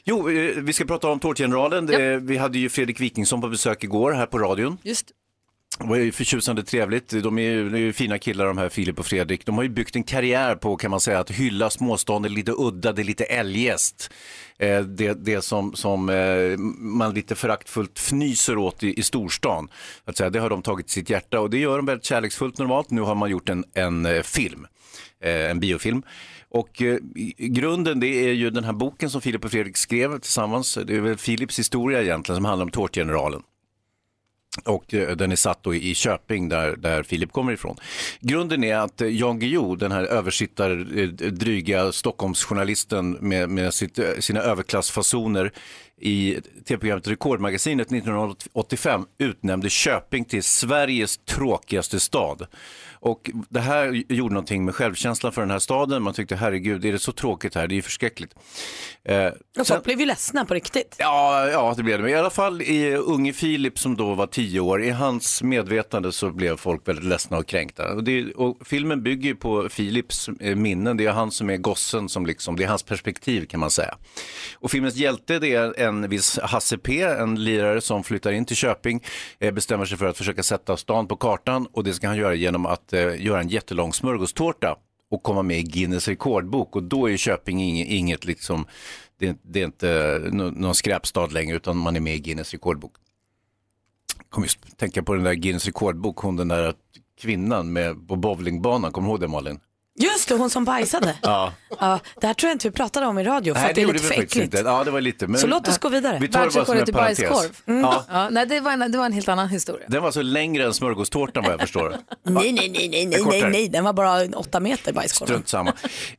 [SPEAKER 3] Jo, eh, vi ska prata om Tårtgeneralen. Det- Vi hade ju Fredrik Wikingsson på besök igår här på radion.
[SPEAKER 1] Just.
[SPEAKER 3] Det var ju förtjusande trevligt. De är ju, de är ju fina killar de här Filip och Fredrik. De har ju byggt en karriär på kan man säga att hylla småstaden, det lite udda, det lite eljest. Eh, det, det som, som eh, man lite föraktfullt fnyser åt i, i storstan. Att säga, det har de tagit till sitt hjärta och det gör de väldigt kärleksfullt normalt. Nu har man gjort en, en eh, film, eh, en biofilm. Och eh, i- i grunden det är ju den här boken som Filip och Fredrik skrev tillsammans. Det är väl Filips historia egentligen som handlar om Tårtgeneralen. Och eh, den är satt då i Köping där, där Filip kommer ifrån. Grunden är att eh, Jan Guillou, den här översittar eh, dryga Stockholmsjournalisten med, med sitt, eh, sina överklassfasoner i tv-programmet Rekordmagasinet 1985 utnämnde Köping till Sveriges tråkigaste stad. Och det här gjorde någonting med självkänslan för den här staden. Man tyckte herregud, är det så tråkigt här? Det är ju förskräckligt. Eh,
[SPEAKER 4] Och folk blev ju ledsna på riktigt.
[SPEAKER 3] Ja, ja, det blev det. Men i alla fall i unge Filip som då var tio år, i hans medvetande så blev folk väldigt ledsna och kränkta. Och, det, och filmen bygger ju på Filips eh, minnen, det är han som är gossen, som liksom, det är hans perspektiv kan man säga. Och filmens hjälte det är en viss Hasse P, en lirare som flyttar in till Köping, eh, bestämmer sig för att försöka sätta stan på kartan och det ska han göra genom att eh, göra en jättelång smörgåstårta och komma med i Guinness rekordbok och då är Köping inget, inget liksom, det, det är inte nå- någon skräpstad längre utan man är med i Guinness rekordbok. Jag Kom just tänka på den där Guinness rekordbok, hon den där kvinnan med, på bowlingbanan, kommer du ihåg det Malin?
[SPEAKER 4] Just det, hon som bajsade.
[SPEAKER 3] Ja.
[SPEAKER 4] Ja, det här tror jag inte vi pratade om i radio för
[SPEAKER 3] Nej,
[SPEAKER 4] att det är
[SPEAKER 3] gjorde
[SPEAKER 4] lite
[SPEAKER 3] vi
[SPEAKER 4] för
[SPEAKER 3] faktiskt
[SPEAKER 4] äckligt.
[SPEAKER 3] inte. Ja, det var lite. Men
[SPEAKER 4] Så låt oss gå vidare.
[SPEAKER 3] Vi tar det bara som en parentes.
[SPEAKER 2] Mm. Ja.
[SPEAKER 3] Ja,
[SPEAKER 2] nej, det, var en, det var en helt annan historia.
[SPEAKER 3] den var så längre än smörgåstårtan vad jag förstår.
[SPEAKER 4] Nej, nej, nej, nej, nej, nej,
[SPEAKER 3] Kortare.
[SPEAKER 4] nej, den var bara en åtta meter bajskorven.
[SPEAKER 3] Strunt samma.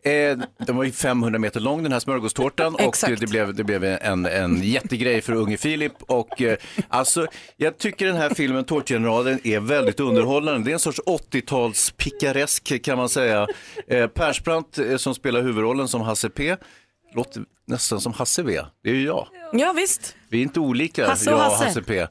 [SPEAKER 3] Eh, den var ju 500 meter lång den här smörgåstårtan och
[SPEAKER 4] Exakt.
[SPEAKER 3] eh, det blev, det blev en, en jättegrej för unge Filip. Och, eh, alltså, jag tycker den här filmen Tårtgeneralen är väldigt underhållande. Det är en sorts 80-tals pikaresk kan man säga. Eh, Persbrandt eh, som spelar huvudrollen som Hasse P. Låter nästan som Hasse V. Det är ju jag.
[SPEAKER 4] Ja, visst.
[SPEAKER 3] Vi är inte olika,
[SPEAKER 4] Hasse och
[SPEAKER 3] jag och
[SPEAKER 4] Hasse.
[SPEAKER 3] Hasse,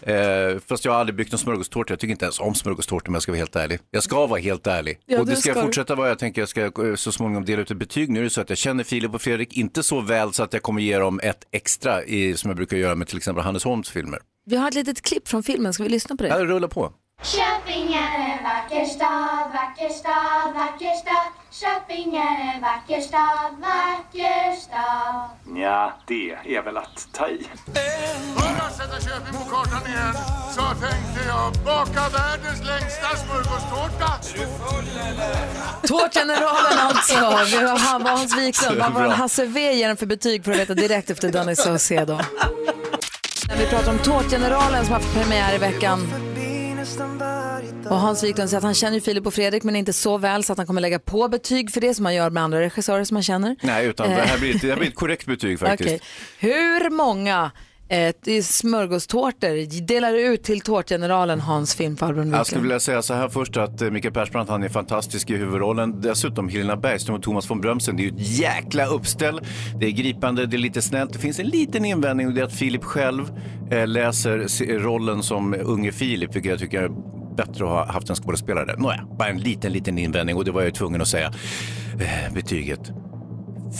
[SPEAKER 3] P. Eh, fast jag har aldrig byggt någon smörgåstårta. Jag tycker inte ens om smörgåstårta om jag ska vara helt ärlig. Jag ska vara helt ärlig.
[SPEAKER 1] Ja,
[SPEAKER 3] och det
[SPEAKER 1] det
[SPEAKER 3] ska jag
[SPEAKER 1] ska du.
[SPEAKER 3] fortsätta vara. Jag tänker jag ska eh, så småningom dela ut ett betyg. Nu är det så att jag känner Filip och Fredrik inte så väl så att jag kommer ge dem ett extra i, som jag brukar göra med till exempel Hannes Holms filmer.
[SPEAKER 1] Vi har ett litet klipp från filmen, ska vi lyssna på det?
[SPEAKER 3] Ja, rulla på.
[SPEAKER 23] Köping är en vacker stad, vacker stad, vacker stad. Köping är en vacker stad, vacker stad.
[SPEAKER 24] Ja, det är väl att ta i.
[SPEAKER 18] När jag sätter Köping på kartan igen så tänkte jag baka världens längsta smörgåstårta.
[SPEAKER 1] Tårtgeneralen alltså. Vi har han, var Hans Wiklund. Vad var
[SPEAKER 2] Bra.
[SPEAKER 1] en Hasse V ger den för betyg för att veta direkt efter Danny Saucedo. När vi pratar om Tårtgeneralen som har haft premiär i veckan. Och Hans Wiklund säger att han känner ju Filip och Fredrik men inte så väl så att han kommer lägga på betyg för det som han gör med andra regissörer som han känner.
[SPEAKER 3] Nej, utan det
[SPEAKER 1] Eh.
[SPEAKER 3] här blir ett, det här blir ett korrekt betyg faktiskt.
[SPEAKER 1] Okej. Hur många eh, t- smörgåstårtor delar du ut till Tårtgeneralen Hans Finnfarbrorn Wiklund?
[SPEAKER 3] Jag skulle vilja säga så här först att eh, Mikael Persbrandt han är fantastisk i huvudrollen. Dessutom Helena Bergström och Thomas von Brömsen. Det är ju ett jäkla uppställ. Det är gripande, det är lite snällt. Det finns en liten invändning och det är att Filip själv eh, läser se- rollen som unge Filip, vilket jag tycker är bättre att ha haft en skådespelare. Nåja, bara en liten, liten invändning och det var jag ju tvungen att säga. Eh, betyget.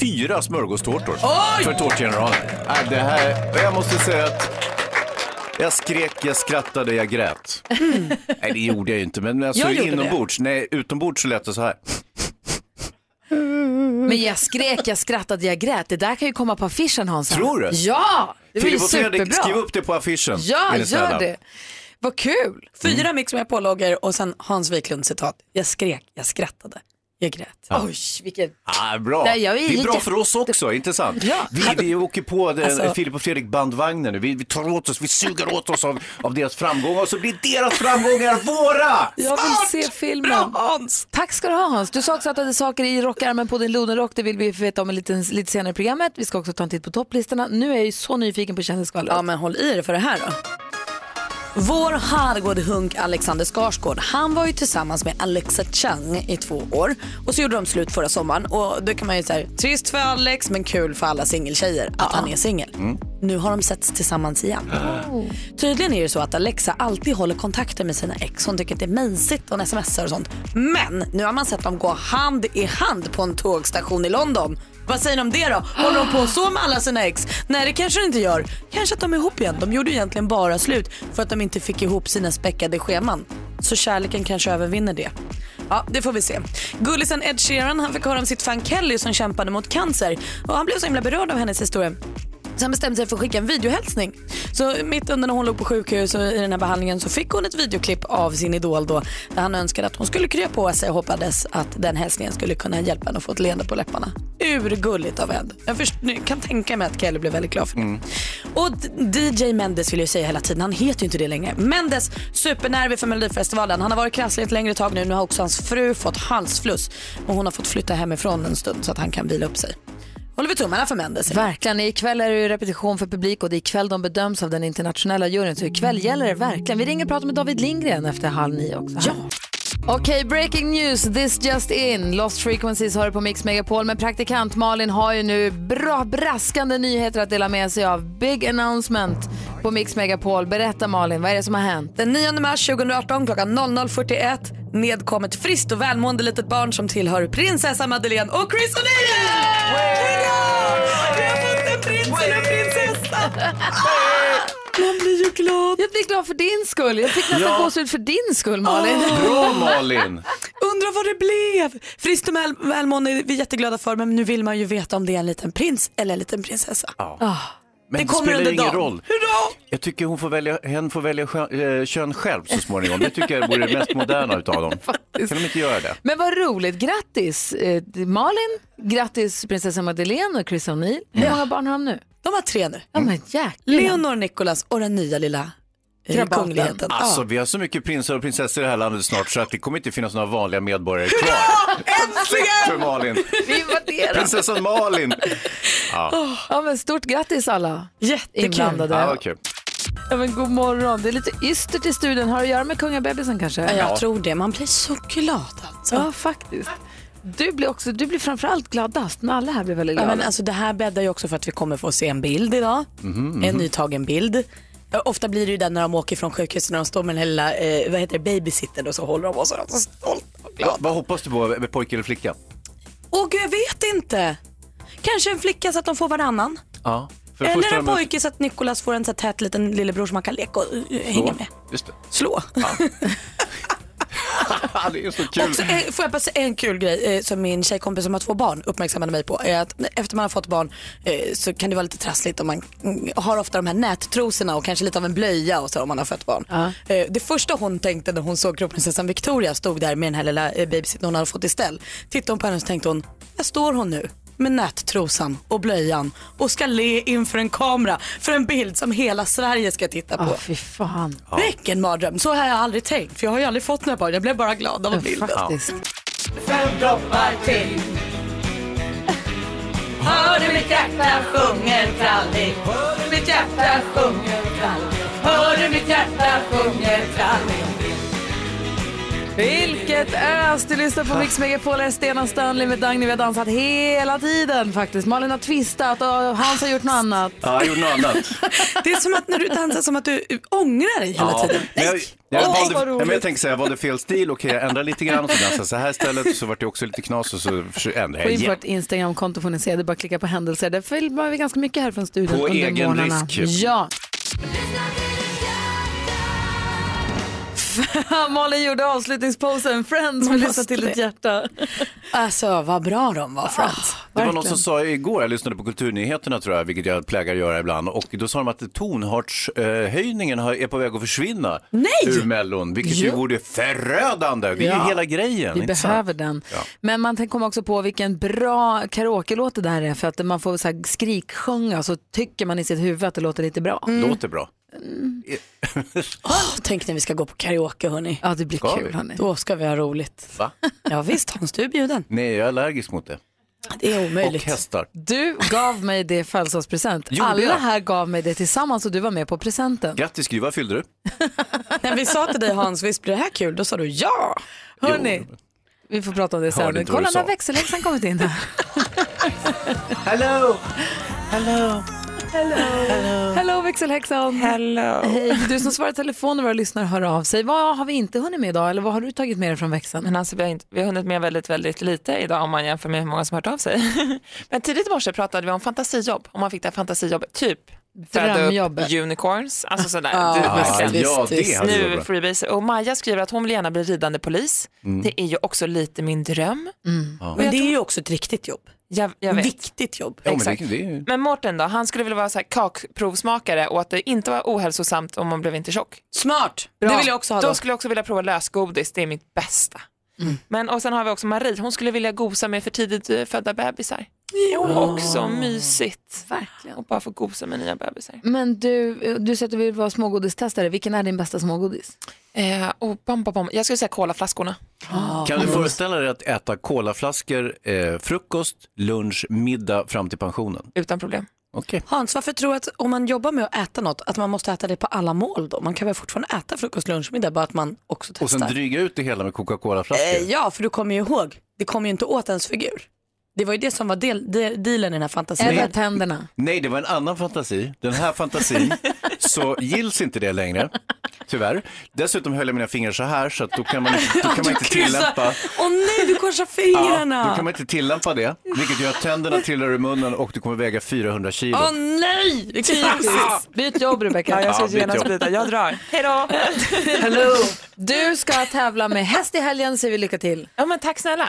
[SPEAKER 3] Fyra smörgåstårtor
[SPEAKER 25] Oj!
[SPEAKER 3] för Tårtgeneralen. Nej, det här, jag måste säga att jag skrek, jag skrattade, jag grät. Nej, det gjorde jag ju inte, men alltså
[SPEAKER 1] Jag gjorde
[SPEAKER 3] inombords, nej, utombords så lät det så här.
[SPEAKER 1] Men jag skrek, jag skrattade, jag grät. Det där kan ju komma på affischen Hansa.
[SPEAKER 3] Tror du?
[SPEAKER 1] Ja, det var ju
[SPEAKER 3] Filip och
[SPEAKER 1] superbra.
[SPEAKER 3] Fredrik, skriv upp det på affischen.
[SPEAKER 1] Ja,
[SPEAKER 3] är ni snälla.
[SPEAKER 1] gör det. Vad kul.
[SPEAKER 4] Fyra Mix med pålogger och sen Hans Wiklund citat. Jag skrek, jag skrattade, jag grät.
[SPEAKER 3] Ja.
[SPEAKER 4] Oj, vilket...
[SPEAKER 3] Ah, bra.
[SPEAKER 4] Nej, jag är
[SPEAKER 3] det är bra
[SPEAKER 4] lite-
[SPEAKER 3] för oss också, inte sant? Vi, vi åker på den,
[SPEAKER 4] Alltså-
[SPEAKER 3] Filip och Fredrik bandvagnen nu. Vi, vi tar åt oss, vi suger åt oss av, av deras framgångar och så blir deras framgångar våra!
[SPEAKER 1] Jag vill se filmen. Tack ska du ha Hans. Du sa också att du hade saker i rockärmen på din Lodenrock. Det vill vi veta om lite, lite senare i programmet. Vi ska också ta en titt på topplistorna. Nu är jag ju så nyfiken på kändisskvallret.
[SPEAKER 4] Ja, men håll i dig för det här då. Vår Herrgård-hunk Alexander Skarsgård, han var ju tillsammans med Alexa Chung i två år och så gjorde de slut förra sommaren och då kan man ju säga trist för Alex men kul för alla singeltjejer att han är singel. Nu har de setts tillsammans igen. Tydligen är det så att Alexa alltid håller kontakten med sina ex. Hon tycker att det är mejsigt och smsar och sånt. Men nu har man sett dem gå hand i hand på en tågstation i London. Vad säger ni om det då? Håller de på så med alla sina ex? Nej det kanske de inte gör. Kanske att de är ihop igen. De gjorde egentligen bara slut för att de inte fick ihop sina späckade scheman. Så kärleken kanske övervinner det. Ja, det får vi se. Gullisen Ed Sheeran han fick höra om sitt fan Kelly som kämpade mot cancer. Och han blev så himla berörd av hennes historia. Så han bestämde sig för att skicka en videohälsning. Så mitt under när hon låg på sjukhus och i den här behandlingen så fick hon ett videoklipp av sin idol då. Där han önskade att hon skulle krya på sig och hoppades att den hälsningen skulle kunna hjälpa henne att få ett leende på läpparna. Urgulligt av Ed. Jag först, nu kan tänka mig att Kelly blev väldigt glad för det. Och D- DJ Mendes vill jag ju säga hela tiden, han heter ju inte det längre. Mendes, supernervig för Melodifestivalen. Han har varit krasslig ett längre tag nu. Nu har också hans fru fått halsfluss och hon har fått flytta hemifrån en stund så att han kan vila upp sig. Håller vi tummarna för Mendes.
[SPEAKER 1] Verkligen. Ikväll är det ju repetition för publik och det är ikväll de bedöms av den internationella juryn. Så ikväll gäller det verkligen. Vi ringer och pratar med David Lindgren efter halv nio också. Ja. Okej, breaking news, this just in. Lost Frequencies har du på Mix Megapol, men praktikant Malin har ju nu bra braskande nyheter att dela med sig av. Big announcement på Mix Megapol. Berätta Malin, vad är det som har hänt?
[SPEAKER 4] Den 9 mars 2018 klockan 00.41 nedkom ett friskt och välmående litet barn som tillhör prinsessa Madeleine och Chris O'Neill! Hurra! Vi har fått en prins och en prinsessa! Man blir ju glad.
[SPEAKER 1] Jag blir glad för din skull. Jag fick nästan
[SPEAKER 3] Ja.
[SPEAKER 1] gåshud för din skull Malin.
[SPEAKER 3] Bra Malin!
[SPEAKER 4] Undrar vad det blev. Friskt och väl- välmående är vi jätteglada för men nu vill man ju veta om det är en liten prins eller en liten prinsessa.
[SPEAKER 3] Ja.
[SPEAKER 1] Ah,
[SPEAKER 3] Men det,
[SPEAKER 4] kommer
[SPEAKER 3] spelar
[SPEAKER 4] under
[SPEAKER 3] ingen
[SPEAKER 4] dagen.
[SPEAKER 3] roll. Jag tycker hon får välja, hen får välja sjö, eh, kön själv så småningom. Det tycker jag vore det mest moderna utav dem. Kan de inte göra det?
[SPEAKER 1] Men vad roligt, grattis eh, Malin, grattis prinsessa Madeleine och Chris O'Neill. Hur många barn har de nu?
[SPEAKER 4] De har tre nu.
[SPEAKER 1] Ja men jäklar.
[SPEAKER 4] Leonor, Nicolas och den nya lilla eh,
[SPEAKER 1] Krabaten.
[SPEAKER 4] kungligheten.
[SPEAKER 3] Alltså, vi har så mycket prinsar och prinsessor i det här landet snart så att det kommer inte finnas några vanliga medborgare kvar. Äntligen! för Malin.
[SPEAKER 1] Vi invaderar.
[SPEAKER 3] Prinsessan Malin. Ja.
[SPEAKER 1] Oh, ja, men stort grattis alla
[SPEAKER 4] Jättekul.
[SPEAKER 1] inblandade.
[SPEAKER 3] Ja, vad kul.
[SPEAKER 1] Ja, men god morgon. Det är lite ystert i studion. Har det att göra med kungabebisen kanske?
[SPEAKER 4] Ja, jag tror det. Man blir så glad alltså.
[SPEAKER 1] Ja, faktiskt. Du blir, också, du blir framförallt gladast, men alla här blir väldigt
[SPEAKER 4] Ja,
[SPEAKER 1] glada.
[SPEAKER 4] men alltså, det här bäddar ju också för att vi kommer få se en bild idag. En nytagen bild. Ja, Ofta blir det ju den när de åker från sjukhuset när de står med den lilla eh, vad heter det, babysittern och så håller de och så är de så stolta.
[SPEAKER 3] Va- Vad hoppas du på, med pojke eller flicka?
[SPEAKER 4] Åh gud, jag vet inte. Kanske en flicka så att de får varannan.
[SPEAKER 3] Ja. För det
[SPEAKER 4] Eller
[SPEAKER 3] första
[SPEAKER 4] en
[SPEAKER 3] har de-
[SPEAKER 4] pojke så att Nicolas får en så här tät liten lillebror som han kan leka och eh, hänga med.
[SPEAKER 3] Just det.
[SPEAKER 4] Slå.
[SPEAKER 3] Ja. det är så kul.
[SPEAKER 4] Också, eh, får jag bara säga en kul grej eh, som min tjejkompis som har två barn uppmärksammade mig på. Är att efter man har fått barn eh, så kan det vara lite trassligt om man mm, har ofta de här nättrosorna och kanske lite av en blöja och så om man har fött barn. Eh, det första hon tänkte när hon såg kronprinsessan Victoria stod där med den här lilla eh, babysitten hon hade fått i ställ. Tittade hon på henne och så tänkte hon, där står hon nu med nättrosan och blöjan och ska le inför en kamera för en bild som hela Sverige ska titta på.
[SPEAKER 1] Ja, fy fan.
[SPEAKER 4] Vilken mardröm, så har jag aldrig tänkt för jag har ju aldrig fått några barn, jag blev bara glad av bilden.
[SPEAKER 1] faktiskt.
[SPEAKER 5] Fem droppar till Hör du mitt hjärta sjunger trallig Hör du mitt hjärta sjunger trallig Hör du mitt hjärta sjunger trallig
[SPEAKER 1] Vilket ös! Du lyssnar på Mix Megapol, här är Stena Stanley med Dagny. Vi har dansat hela tiden faktiskt. Malin har twistat och Hans har gjort något annat.
[SPEAKER 3] Ja, jag gjorde något annat.
[SPEAKER 4] Det är som att när du dansar som att du ångrar dig hela tiden.
[SPEAKER 3] Men jag, jag,
[SPEAKER 4] Åh,
[SPEAKER 3] valde,
[SPEAKER 4] vad
[SPEAKER 3] nej,
[SPEAKER 4] roligt.
[SPEAKER 3] men jag tänkte så här, jag valde fel stil, okej jag ändrar lite grann, så dansade jag så här istället, och så vart det också lite knas och så försö- ändrade
[SPEAKER 1] På
[SPEAKER 3] jag igen.
[SPEAKER 1] infört Instagramkonto får ni se, det är bara att klicka på händelser. Där filmar vi ganska mycket här från studion
[SPEAKER 3] På
[SPEAKER 1] under
[SPEAKER 3] egen
[SPEAKER 1] morgnarna.
[SPEAKER 3] risk.
[SPEAKER 1] Ja. Malin gjorde avslutningsposen, Friends,
[SPEAKER 4] Man
[SPEAKER 1] med lyssna
[SPEAKER 4] måste
[SPEAKER 1] till ditt
[SPEAKER 4] det.
[SPEAKER 1] hjärta.
[SPEAKER 4] Alltså vad bra de var Friends.
[SPEAKER 3] Det var någon som sa igår, jag lyssnade på Kulturnyheterna tror jag, vilket jag plägar göra ibland, och då sa de att tonartshöjningen har- är på väg att försvinna
[SPEAKER 1] Nej!
[SPEAKER 3] ur Mellon, vilket ju
[SPEAKER 1] Jo.
[SPEAKER 3] vore förödande. Det är
[SPEAKER 1] Ja.
[SPEAKER 3] ju hela grejen.
[SPEAKER 1] Vi
[SPEAKER 3] inte sant?
[SPEAKER 1] behöver den.
[SPEAKER 3] Ja.
[SPEAKER 1] Men man kommer också på vilken bra karaoke-låt det där är för att man får så här skriksjunga så tycker man i sitt huvud att det låter lite bra.
[SPEAKER 3] Låter bra.
[SPEAKER 4] Åh, tänk när vi ska gå på karaoke hörni.
[SPEAKER 1] Ja det blir
[SPEAKER 3] Ska kul, vi? hörni.
[SPEAKER 4] Då ska vi ha roligt.
[SPEAKER 3] Va?
[SPEAKER 4] Ja visst Hans, du är bjuden.
[SPEAKER 3] Nej, jag är allergisk mot det.
[SPEAKER 4] Det är omöjligt.
[SPEAKER 3] Och hästar.
[SPEAKER 1] Du gav mig det i födelsedagspresent.
[SPEAKER 3] Gjorde
[SPEAKER 1] Alla
[SPEAKER 3] jag?
[SPEAKER 1] här gav mig det tillsammans och du var med på presenten.
[SPEAKER 3] Grattis Gry, vad fyllde du?
[SPEAKER 4] När vi sa till dig Hans, visst blir det här kul? Då sa du ja.
[SPEAKER 1] Hörni,
[SPEAKER 3] Ah,
[SPEAKER 1] vi får prata om det
[SPEAKER 4] Hörde
[SPEAKER 1] sen.
[SPEAKER 4] inte vad
[SPEAKER 1] Kolla,
[SPEAKER 4] du
[SPEAKER 1] nu har
[SPEAKER 4] sa.
[SPEAKER 1] växelläxan kommit in här.
[SPEAKER 3] Hello!
[SPEAKER 1] Hello! Hello! Hello växelhäxan!
[SPEAKER 7] Hello!
[SPEAKER 1] Hej, du som svarar i telefon och våra lyssnare hör av sig. Vad har vi inte hunnit med idag eller vad har du tagit med dig från växeln?
[SPEAKER 7] Men alltså, vi, har inte, vi har hunnit med väldigt, väldigt lite idag om man jämför med hur många som hört av sig. Men tidigt i morse pratade vi om fantasijobb, om man fick det här fantasijobbet, typ föda upp
[SPEAKER 1] Drömjobbet.
[SPEAKER 7] unicorns, alltså sådär.
[SPEAKER 1] Ja,
[SPEAKER 7] Du,
[SPEAKER 1] visst,
[SPEAKER 7] verkligen.
[SPEAKER 1] visst,
[SPEAKER 7] Nu
[SPEAKER 1] visst. hade varit bra.
[SPEAKER 7] freebase. Och Maja skriver att hon vill gärna bli ridande polis.
[SPEAKER 4] Mm.
[SPEAKER 7] Det är ju också lite min dröm.
[SPEAKER 4] Men
[SPEAKER 7] Och jag
[SPEAKER 4] det är ju också ett riktigt jobb.
[SPEAKER 7] Jag, jag vet.
[SPEAKER 4] Viktigt jobb.
[SPEAKER 7] Ja, men det- Exakt. det
[SPEAKER 3] är...
[SPEAKER 7] Men Mårten då, han skulle vilja vara så här kakprovsmakare och att det inte var ohälsosamt om man blev inte tjock.
[SPEAKER 4] Smart,
[SPEAKER 7] Bra.
[SPEAKER 4] det vill jag också ha
[SPEAKER 7] då.
[SPEAKER 4] då.
[SPEAKER 7] skulle jag också vilja prova lösgodis, det är mitt bästa. Men, och sen har vi också Marie, hon skulle vilja gosa med för tidigt eh, födda bebisar. Jo. Också mysigt.
[SPEAKER 1] Verkligen.
[SPEAKER 7] Och bara få gosa med nya bebisar.
[SPEAKER 1] Men du, du sa att du vill vara smågodistestare. Vilken är din bästa smågodis?
[SPEAKER 7] Eh, och bom, bom, bom. Jag skulle säga kolaflaskorna.
[SPEAKER 3] Kan du föreställa dig att äta kolaflaskor, eh, frukost, lunch, middag fram till pensionen?
[SPEAKER 7] Utan problem.
[SPEAKER 3] Okej.
[SPEAKER 4] Hans, varför tror du att om man jobbar med att äta något, att man måste äta det på alla mål då? Man kan väl fortfarande äta frukost, lunch, middag, bara att man också testar.
[SPEAKER 3] Och sen dryga ut det hela med Coca-Cola-flaskor.
[SPEAKER 4] Eh, ja, för du kommer ju ihåg, det kommer ju inte åt ens figur. Det var ju det som var del, de, dealen i den här fantasin.
[SPEAKER 3] Eller
[SPEAKER 1] tänderna.
[SPEAKER 3] Nej, det var en annan fantasi. Den här fantasin så gills inte det längre, tyvärr. Dessutom höll jag mina fingrar så här så att då kan man, då kan man inte tillämpa...
[SPEAKER 4] Åh nej, du korsar
[SPEAKER 3] Ja, då
[SPEAKER 4] fingrarna!
[SPEAKER 3] kan man inte tillämpa det, vilket gör att tänderna trillar ur munnen och du kommer väga 400 kilo.
[SPEAKER 4] Åh nej! Det är
[SPEAKER 1] Typiskt. Byt jobb Rebecca.
[SPEAKER 7] Ja, jag ska
[SPEAKER 3] Ja, byt
[SPEAKER 7] genast
[SPEAKER 3] jobb.
[SPEAKER 7] byta, jag drar. Hej då!
[SPEAKER 1] Hello. Du ska tävla med häst i helgen, säger vi lycka till.
[SPEAKER 7] Ja, men tack snälla.